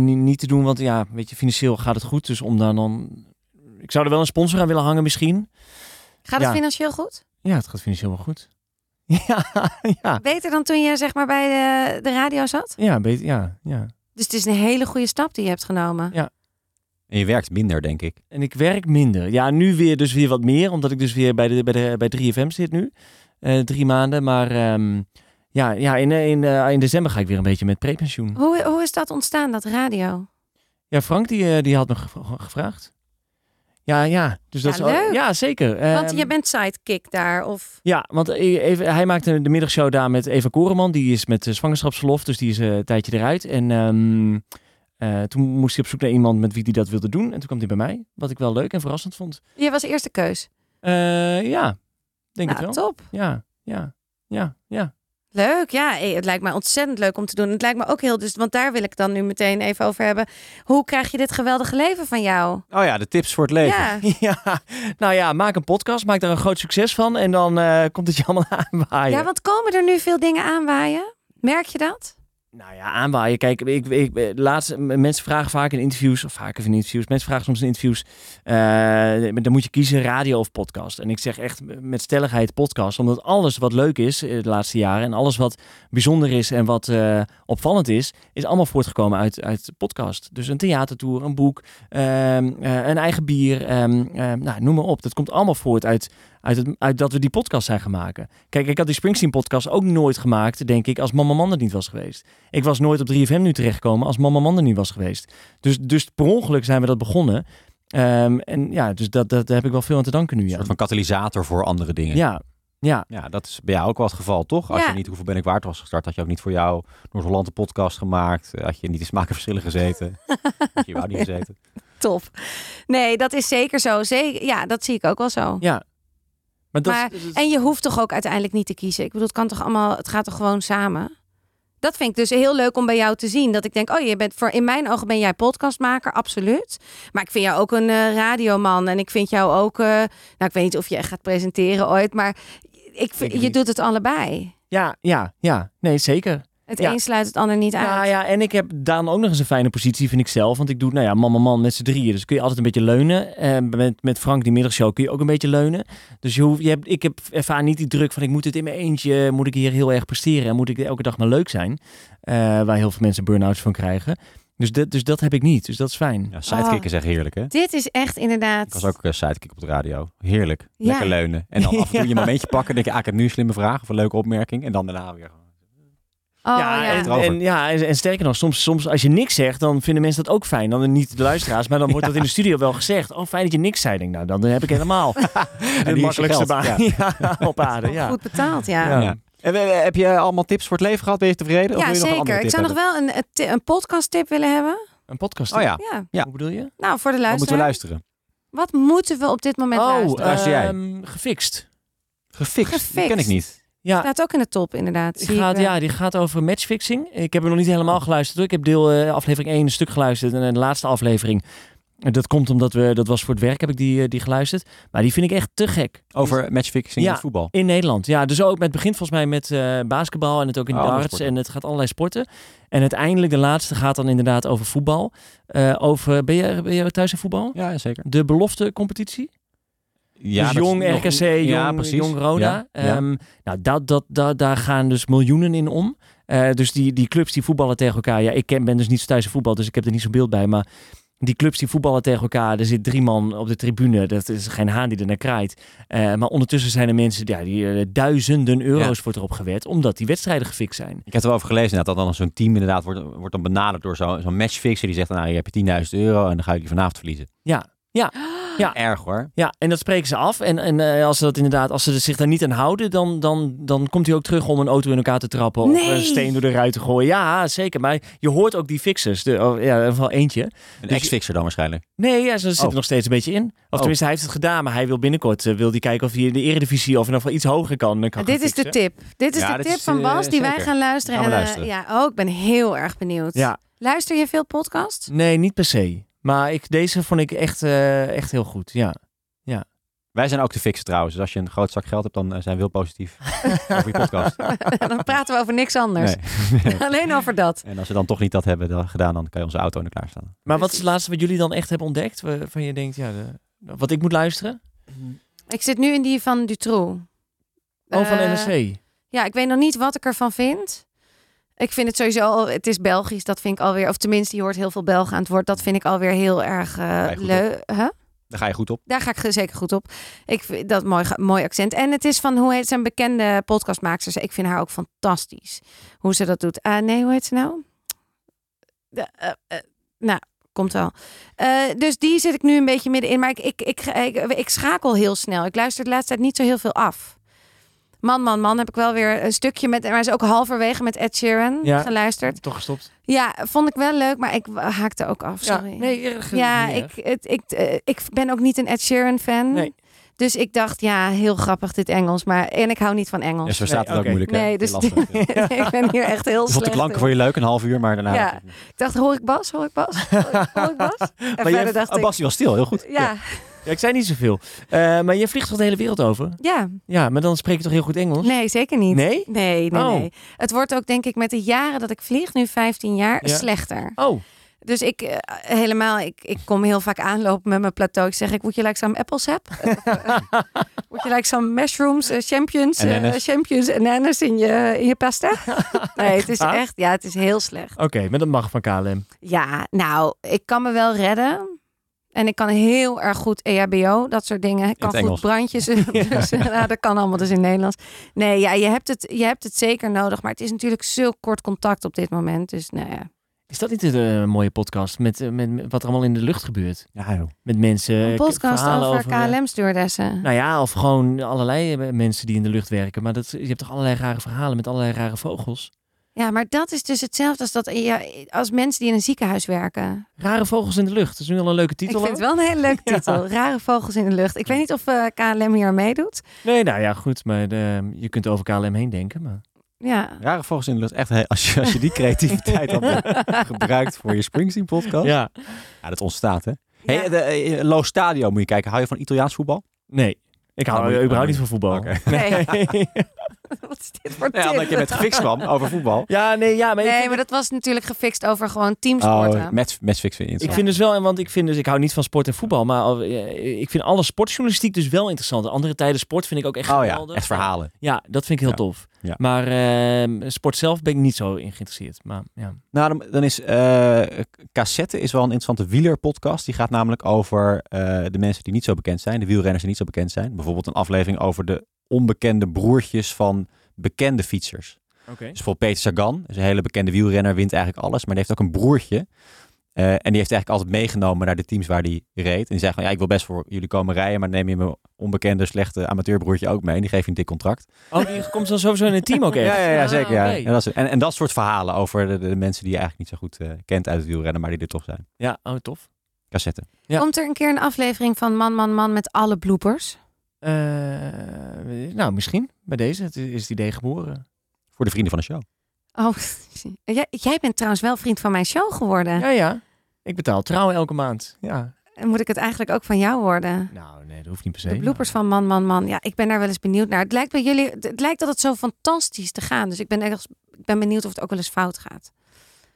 S4: ni- niet te doen. Want ja, weet je, financieel gaat het goed. Dus om daar dan... Ik zou er wel een sponsor aan willen hangen misschien.
S2: Gaat het
S4: Ja.
S2: financieel goed?
S4: Ja, het gaat financieel wel goed. Ja, ja.
S2: Beter dan toen je zeg maar bij de, de radio zat?
S4: Ja, beter, ja, ja.
S2: Dus het is een hele goede stap die je hebt genomen.
S3: En je werkt minder, denk ik.
S4: En ik werk minder. Ja, nu weer dus weer wat meer, omdat ik dus weer bij, de, bij, de, bij 3FM zit nu. Eh, drie maanden, maar ehm, ja, ja in, eh, in, eh, in december ga ik weer een beetje met prepensioen.
S2: Hoe, hoe is dat ontstaan, dat radio?
S4: Ja, Frank die, eh, die had me gev- gevraagd. Ja, ja. Dus dat
S2: Ja,
S4: is al-
S2: leuk.
S4: ja zeker.
S2: Want
S4: Ehm,
S2: je bent sidekick daar, of...
S4: Ja, want eh, even, hij maakte de middagshow daar met Eva Koreman. Die is met eh, zwangerschapsverlof, dus die is eh, een tijdje eruit. En ehm, eh, toen moest hij op zoek naar iemand met wie hij dat wilde doen. En toen kwam hij bij mij, wat ik wel leuk en verrassend vond.
S2: Je was eerste keus.
S4: Eh, ja, denk
S2: nou,
S4: het wel.
S2: top.
S4: Ja, ja, ja, ja.
S2: Leuk, ja. eh, Het lijkt mij ontzettend leuk om te doen. Het lijkt me ook heel dus, want daar wil ik dan nu meteen even over hebben. Hoe krijg je dit geweldige leven van jou?
S3: Oh ja, de tips voor het leven.
S2: Ja,
S4: Ja, nou ja, maak een podcast, maak daar een groot succes van en dan eh, komt het je allemaal aanwaaien.
S2: ja, want komen er nu veel dingen aanwaaien? Merk je dat?
S4: Nou ja, aanwaaien. Kijk, ik, ik, eh, laatst, m- mensen vragen vaak in interviews, of vaker in interviews, mensen vragen soms in interviews, eh, dan moet je kiezen radio of podcast. En ik zeg echt met stelligheid podcast, omdat alles wat leuk is eh, de laatste jaren en alles wat bijzonder is en wat eh, opvallend is, is allemaal voortgekomen uit, uit podcast. Dus een theatertour, een boek, ehm, eh, een eigen bier, ehm, ehm, nou, noem maar op. Dat komt allemaal voort uit, uit, het, uit dat we die podcast zijn gaan maken. Kijk, ik had die Springsteen podcast ook nooit gemaakt, denk ik, als Mama Man er niet was geweest. Ik was nooit op 3FM nu terechtgekomen als Mama Man er niet was geweest. Dus, dus per ongeluk zijn we dat begonnen. Ehm, en ja, dus dat, dat, daar heb ik wel veel aan te danken nu.
S3: Een
S4: Ja,
S3: soort van katalysator voor andere dingen.
S4: ja, ja,
S3: Ja, dat is bij jou ook wel het geval, toch? Als
S2: Ja.
S3: je niet Hoeveel Ben ik Waard was gestart, had je ook niet voor jou Noord-Holland een podcast gemaakt. eh, Had je niet in smaak en verschillen gezeten. had je überhaupt niet gezeten.
S2: Top. Nee, dat is zeker zo. Zeker, ja, dat zie ik ook wel zo.
S4: ja. Maar dat,
S2: Maar- En je hoeft toch ook uiteindelijk niet te kiezen. Ik bedoel, het kan toch allemaal, het gaat toch gewoon samen. Dat vind ik dus heel leuk om bij jou te zien. Dat ik denk, oh, je bent voor in mijn ogen ben jij podcastmaker, absoluut. Maar ik vind jou ook een eh, radioman en ik vind jou ook, eh, nou, ik weet niet of je echt gaat presenteren ooit, maar ik vind,
S4: Ik
S2: je
S4: niet.
S2: doet het allebei.
S4: ja, ja, ja. Nee, zeker.
S2: Het
S4: Ja.
S2: een sluit het ander niet uit.
S4: Nou ja, en ik heb Daan ook nog eens een fijne positie, vind ik zelf. Want ik doe, nou ja, man, man, man met z'n drieën. Dus kun je altijd een beetje leunen. Eh, met, met Frank, die middagshow, kun je ook een beetje leunen. Dus je hoeft, je hebt, ik heb, ervaar niet die druk van ik moet het in mijn eentje, moet ik hier heel erg presteren en moet ik elke dag maar leuk zijn. Eh, waar heel veel mensen burn-outs van krijgen. Dus dat, dus dat heb ik niet. Dus dat is fijn.
S3: Ja,
S2: Oh.
S3: sidekicken zeggen heerlijk, hè?
S2: Dit is echt inderdaad.
S3: Ik was ook een sidekick op de radio. Heerlijk.
S2: Ja.
S3: Lekker leunen. En dan af en toe je momentje pakken. denk je, ah, ik heb nu een slimme vraag of een leuke opmerking. En dan daarna weer. gewoon.
S2: Oh, ja,
S4: en,
S3: erover.
S4: en- ja, en, en sterker nog, soms, soms als je niks zegt, dan vinden mensen dat ook fijn. Dan niet de luisteraars, maar dan wordt dat in de studio wel gezegd. Oh, fijn dat je niks zei. Ik Denk, nou, dan heb ik helemaal de
S3: hier is je
S4: makkelijkste
S3: geld.
S4: baan Ja, op aarde.
S2: Ook
S4: Ja.
S2: goed betaald, ja.
S4: Ja.
S3: Ja. En eh, heb je allemaal tips voor het leven gehad? Ben je tevreden? of
S2: Ja,
S3: wil je nog een andere
S2: zeker.
S3: tip
S2: Ik zou nog
S3: hebben?
S2: wel een, een, ti- een podcast tip willen hebben.
S4: Oké. Een podcast?
S3: Oh ja,
S2: Ja,
S3: ja.
S4: Hoe bedoel je?
S2: nou voor de
S3: dan moeten we
S2: luisteraar.
S3: luisteren.
S2: Wat moeten we op dit moment
S4: oh,
S2: luisteren?
S3: Luister jij.
S4: ehm, gefixt.
S3: Gefixt. Die ken ik
S2: Gefixt.
S3: niet.
S4: Ja,
S2: Staat ook in de top inderdaad.
S4: Die
S2: zie ik
S4: gaat,
S2: wel.
S4: ja, die gaat over matchfixing. Ik heb hem nog niet helemaal geluisterd. Hoor. Ik heb deel eh, aflevering 1 een stuk geluisterd en eh, de laatste aflevering. En Dat komt omdat we, dat was voor het werk, heb ik die, eh, die geluisterd. Maar die vind ik echt te gek.
S2: Dus-
S3: Over matchfixing
S4: Ja.
S3: in het voetbal.
S4: In Nederland. Ja, dus ook met het begint volgens mij met eh, basketbal en het ook in de
S3: Alle
S4: arts.
S3: sporten.
S4: En het gaat allerlei sporten. En uiteindelijk de laatste gaat dan inderdaad over voetbal. Eh, over, ben je, ben je thuis in voetbal?
S3: Ja, zeker.
S4: De belofte competitie?
S3: Ja,
S4: dus
S3: dat-
S4: jong
S3: nog-
S4: RKC, jong,
S3: ja, precies.
S4: jong Roda.
S3: Ja, ja.
S4: Ehm, nou, dat, dat, dat, daar gaan dus miljoenen in om. Eh, dus die, die clubs die voetballen tegen elkaar. Ja, ik ken, ben dus niet zo thuis in voetbal, dus ik heb er niet zo'n beeld bij. Maar die clubs die voetballen tegen elkaar. Er zit drie man op de tribune. Dat is geen haan die er naar kraait. Eh, maar ondertussen zijn er mensen ja, die eh, duizenden euro's wordt erop gewet. Omdat die wedstrijden gefixt zijn.
S3: Ik heb er wel over gelezen inderdaad, dat dan zo'n team inderdaad wordt, wordt dan benaderd door zo'n zo'n matchfixer. Die zegt, nou, hier heb je 10.000 euro en dan ga ik die vanavond verliezen.
S4: Ja. Ja, Ja.
S3: Erg hoor.
S4: ja, en dat spreken ze af. En, en eh, als ze dat inderdaad, als ze er zich daar niet aan houden, dan, dan, dan komt hij ook terug om een auto in elkaar te trappen of
S2: Nee.
S4: een steen door de ruit te gooien. Ja, zeker. Maar je hoort ook die fixers. De, oh, ja, in ieder geval eentje.
S3: Een
S4: Dus-
S3: ex-fixer dan waarschijnlijk.
S4: Nee, ja, ze zit
S3: Oh.
S4: er nog steeds een beetje in. Of
S3: Oh.
S4: tenminste, hij heeft het gedaan, maar hij wil binnenkort eh, wil die kijken of hij in de eredivisie of in ieder geval iets hoger kan. Dan kan
S2: Dit
S4: gaan
S2: is de
S4: fixen.
S2: tip. Dit is
S3: Ja,
S2: de
S3: dit
S2: tip
S3: is,
S2: van
S3: eh,
S2: Bas die wij
S3: zeker.
S2: gaan luisteren.
S3: Gaan we
S2: en, eh,
S3: luisteren.
S2: ja, ook. ik ben heel erg benieuwd.
S4: Ja,
S2: Luister je veel podcast?
S4: nee, niet per se. Maar ik, deze vond ik echt, eh, echt heel goed. Ja.
S3: Wij zijn ook te fixen trouwens. Dus als je een groot zak geld hebt, dan eh, zijn we heel positief over je podcast.
S2: Dan praten we over niks anders.
S3: Nee.
S2: Alleen over dat.
S3: en als we dan toch niet dat hebben dan- gedaan, dan kan je onze auto in de klaarstaan.
S4: Maar wat is het laatste wat jullie dan echt hebben ontdekt? Waarvan je denkt, ja, de- wat ik moet luisteren?
S2: Ik zit nu in die van Dutroux.
S4: Oh, van
S2: Eh,
S4: NRC.
S2: Ja, ik weet nog niet wat ik ervan vind. Ik vind het sowieso, al- het is Belgisch, dat vind ik alweer, of tenminste, je hoort heel veel Belgen aan het woord. Dat vind ik alweer heel erg eh
S3: je goed
S2: leuk. Huh?
S3: Daar ga je goed op.
S2: Daar ga ik ge- zeker goed op. Ik vind dat mooi, ge- mooi accent. En het is van, hoe heet zijn bekende podcastmaaksters? Ik vind haar ook fantastisch. Hoe ze dat doet. Ah, nee, hoe heet ze nou? De, eh, eh, nou, komt wel. Eh, dus die zit ik nu een beetje middenin. Maar ik, ik, ik, ik, ik schakel heel snel. Ik luister de laatste tijd niet zo heel veel af. Man, man, man heb ik wel weer een stukje met... Maar is ook halverwege met Ed Sheeran
S4: Ja.
S2: geluisterd.
S4: Toch gestopt.
S2: Ja, vond ik wel leuk, maar ik haakte ook af. Sorry.
S4: Ja, nee, erg, eh,
S2: Ja,
S4: niet
S2: ik,
S4: erg.
S2: het, ik, eh, ik ben ook niet een Ed Sheeran fan.
S4: Nee.
S2: Dus ik dacht, ja, heel grappig dit Engels. Maar, en ik hou niet van Engels.
S3: Ja, zo staat Dus het
S4: oké.
S3: ook moeilijk. hè?
S2: nee,
S3: Heel
S2: dus
S3: lastig. Ja.
S2: ik ben hier echt heel
S3: Ik vond de
S2: slecht
S3: klanken
S2: in.
S3: voor je leuk, een half uur, maar daarna...
S2: Ja. Ik dacht, hoor ik Bas? Hoor ik Bas? Hoor ik Bas? En
S4: jij-
S2: verder dacht
S3: Oh,
S2: ik...
S3: Bas, die was stil. Heel goed.
S2: Ja,
S4: Ja, ik zei niet zoveel. Eh, maar je vliegt toch de hele wereld over?
S2: ja,
S4: Ja, maar dan spreek je toch heel goed Engels?
S2: nee, zeker niet.
S4: Nee?
S2: Nee, nee,
S4: Oh.
S2: nee. Het wordt ook, denk ik, met de jaren dat ik vlieg, nu 15 jaar,
S4: Ja.
S2: slechter.
S4: Oh,
S2: Dus ik eh, helemaal, ik, ik kom heel vaak aanlopen met mijn plateau. Ik zeg, ik moet je like some apples heb. Moet je like some mushrooms, eh, champions,
S3: En
S2: en
S3: ananas.
S2: champions en ananas in je, in je pasta? nee, het is
S4: waar?
S2: echt, ja, het is heel slecht.
S4: oké. maar dat mag van KLM.
S2: Ja, nou, ik kan me wel redden. En ik kan heel erg goed E EHBO, dat soort dingen. Ik
S3: het
S2: kan goed
S3: Engels.
S2: brandjes. dus, nou, dat kan allemaal dus in Nederlands. Nee, ja, je hebt, het, je hebt het zeker nodig. Maar het is natuurlijk zo kort contact op dit moment. Dus nou ja.
S4: Is dat niet een eh, mooie podcast met, eh, met, met wat er allemaal in de lucht gebeurt?
S3: Ja, joh.
S4: Met mensen.
S2: Een
S4: eh,
S2: podcast
S4: verhalen
S2: over,
S4: eh,
S2: KLM-stewardessen.
S4: Nou ja, of gewoon allerlei eh, mensen die in de lucht werken. Maar dat, je hebt toch allerlei rare verhalen met allerlei rare vogels?
S2: Ja, maar dat is dus hetzelfde als, dat, ja, als mensen die in een ziekenhuis werken.
S4: Rare vogels in de lucht. Dat is nu al een leuke titel.
S2: Ik vind het wel een hele leuke titel. Rare vogels in de lucht. Ik weet niet of eh, KLM hier aan meedoet.
S4: ook. Nee, nou ja, goed. Maar eh, je kunt over KLM heen denken. Maar...
S2: Ja.
S3: Rare vogels in de lucht. Echt, hè, als je, als je die creativiteit had eh, gebruikt voor je Springsteen-podcast. Ja.
S4: Ja.
S3: dat ontstaat, hè?
S2: Ja.
S3: Hey, de, eh, Lo Stadio moet je kijken. Hou je van Italiaans voetbal?
S4: Nee. Ik hou
S3: Oh, moet-
S4: überhaupt
S3: oh,
S4: niet van voetbal.
S3: Oké.
S2: Nee,
S4: Nee.
S2: wat is dit voor
S3: Ja,
S2: tip?
S3: omdat je met gefixt kwam over voetbal.
S4: ja, nee, ja. Maar ik
S2: Nee,
S4: vind-
S2: maar dat was natuurlijk gefixt over gewoon teamsporten.
S3: Oh, match, matchfix vind je
S4: Ik
S3: interessant.
S4: vind dus wel, en want ik vind dus, ik hou niet van sport en voetbal, maar al- eh, ik vind alle sportjournalistiek dus wel interessant. Andere tijden sport vind ik ook echt
S3: Oh ja,
S4: geweldig.
S3: echt verhalen.
S4: Ja, dat vind ik heel
S3: Ja.
S4: tof.
S3: Ja.
S4: Maar ehm, sport zelf ben ik niet zo in geïnteresseerd. Maar ja.
S3: Nou, dan, dan is eh Cassette is wel een interessante wielerpodcast. Die gaat namelijk over eh, de mensen die niet zo bekend zijn, de wielrenners die niet zo bekend zijn. Bijvoorbeeld een aflevering over de onbekende broertjes van bekende fietsers.
S4: Oké.
S3: Dus bijvoorbeeld Peter Sagan, is een hele bekende wielrenner, wint eigenlijk alles. Maar die heeft ook een broertje. Eh, en die heeft eigenlijk altijd meegenomen naar de teams waar die reed. En die zei gewoon, ja, ik wil best voor jullie komen rijden, maar neem je mijn onbekende, slechte amateurbroertje ook mee. En die geef je een dik contract.
S4: Oh, die komt dan sowieso in een team ook echt?
S3: Ja, ja, ja
S4: Ah,
S3: zeker. Ja.
S4: oké.
S3: En, dat is- en, en dat soort verhalen over de, de mensen die je eigenlijk niet zo goed eh, kent uit het wielrennen, maar die er toch zijn.
S4: Ja, oh, tof.
S3: Cassetten.
S4: Ja.
S2: Komt er een keer een aflevering van Man, Man, Man met alle bloopers?
S4: Eh, nou, misschien bij deze het is het idee geboren.
S3: Voor de vrienden van de show.
S2: Oh, jij, jij bent trouwens wel vriend van mijn show geworden.
S4: Ja, ja. Ik betaal trouw elke maand. Ja.
S2: En Moet ik het eigenlijk ook van jou worden?
S4: Nou, nee, dat hoeft niet per se.
S2: De bloepers van Man, Man, Man. Ja, ik ben daar wel eens benieuwd naar. Het lijkt bij jullie, het het lijkt dat het zo fantastisch te gaan. Dus ik ben, ergens, ik ben benieuwd of het ook wel eens fout gaat.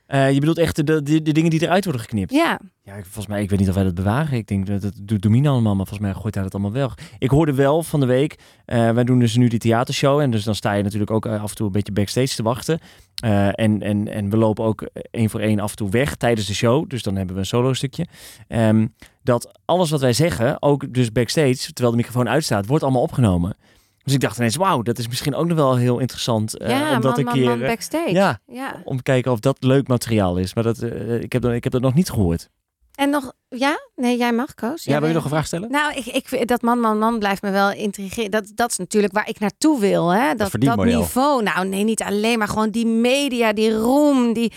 S4: Eh, je bedoelt echt de, de, de dingen die eruit worden geknipt?
S2: Ja,
S4: Ja, ik- volgens mij, ik weet niet of wij dat bewaren. Ik denk dat dat doet Domina allemaal, maar volgens mij gooit hij dat allemaal wel. Ik hoorde wel van de week, eh, wij doen dus nu die theatershow. En dus dan sta je natuurlijk ook eh, af en toe een beetje backstage te wachten. Eh, en, en, en we lopen ook eh, één voor één af en toe weg tijdens de show. Dus dan hebben we een solo stukje. Ehm, dat alles wat wij zeggen, ook dus backstage, terwijl de microfoon uitstaat, wordt allemaal opgenomen. Dus ik dacht ineens, wauw, dat is misschien ook nog wel heel interessant. eh,
S2: ja
S4: om dat
S2: Man,
S4: een
S2: Man,
S4: keer,
S2: Man
S4: eh,
S2: backstage.
S4: ja.
S2: ja.
S4: om te kijken of dat leuk materiaal is. Maar dat, eh, ik, heb dat, ik heb dat nog niet gehoord.
S2: En nog, ja? Nee, jij mag, Koos.
S3: Ja, wil je
S2: nee.
S3: nog een vraag stellen?
S2: Nou, ik, ik, vind- dat man, man, man blijft me wel intrigeren. Dat, dat is natuurlijk waar ik naartoe wil. Hè? Dat, dat,
S3: verdienmodel.
S2: niveau. Nou, nee, niet alleen, maar gewoon die media, die roem, die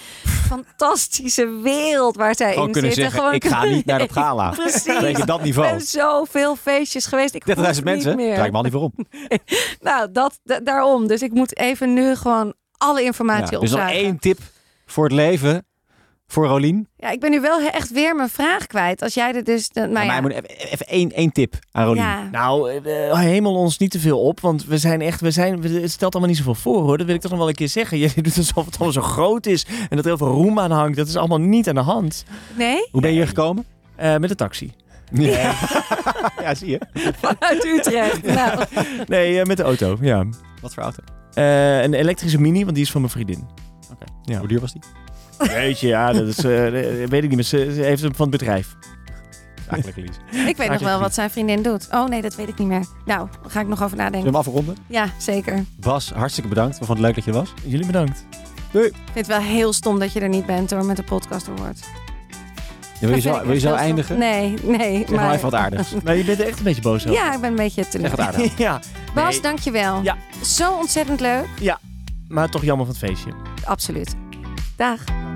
S2: fantastische wereld waar zij
S3: Gewoon
S2: in
S3: kunnen
S2: zitten.
S3: zeggen, ik ga niet naar dat gala. Weet
S2: Precies.
S3: je, dat
S2: Ik
S3: niveau. 30.000
S2: ben zoveel feestjes geweest. Ik hoef het
S3: mensen,
S2: niet meer.
S3: draai ik me al niet voor om.
S2: Nou, dat, da- daarom. Dus ik moet even nu gewoon alle informatie
S3: Ja, dus nog
S2: opzuigen.
S3: één tip voor het leven voor Rolien.
S2: Ja, ik ben nu wel he- echt weer mijn vraag kwijt. Als jij er dus... de- nou
S3: Maar
S2: ja.
S3: hij moet even, even één, één tip aan Rolien.
S2: ja.
S4: Nou, eh, hemel ons niet te veel op, want we zijn echt, we zijn, we- het stelt allemaal niet zoveel voor hoor. Dat wil ik toch nog wel een keer zeggen. Je doet alsof het allemaal zo groot is en dat er heel veel roem aan hangt. Dat is allemaal niet aan de hand.
S2: Nee?
S3: Hoe ben je hier gekomen?
S4: Eh, met de taxi. Eh,
S3: Ja. ja, zie je.
S2: Vanuit Utrecht. Nou,
S4: Nee, eh, met de auto, ja.
S3: Wat voor auto?
S4: Eh, een elektrische mini, want die is van mijn vriendin. Ja.
S3: Hoe duur was die?
S4: Weet je, ja, dat is, eh, eh, weet ik niet, maar ze, ze heeft hem van het bedrijf.
S3: Eigenlijk Lies. Zullen
S2: Nou, ik weet nog wel wat zijn vriendin doet. Oh nee, dat weet ik niet meer. Nou, daar ga ik nog over
S3: we
S2: nadenken.
S3: hem afronden?
S2: Ja, zeker. Ik
S3: Bas, hartstikke bedankt. We vonden het leuk dat je er was.
S4: Jullie bedankt.
S2: vind het wel heel stom dat je er niet bent hoor, met de podcast award.
S3: Ja, wil, je zo, wil je zo eindigen?
S2: dus Nee, nee.
S3: Zeg maar
S2: maar...
S3: even wat aardigs.
S4: Maar je bent echt een beetje boos.
S2: Ja, ik ben een beetje
S3: Zeg wat
S2: teleurgesteld.
S3: aardigs.
S4: ja,
S2: Bas,
S4: Nee.
S2: dankjewel.
S4: Ja.
S2: Zo ontzettend leuk.
S4: maar toch jammer van het feestje.
S2: Absoluut. Dag.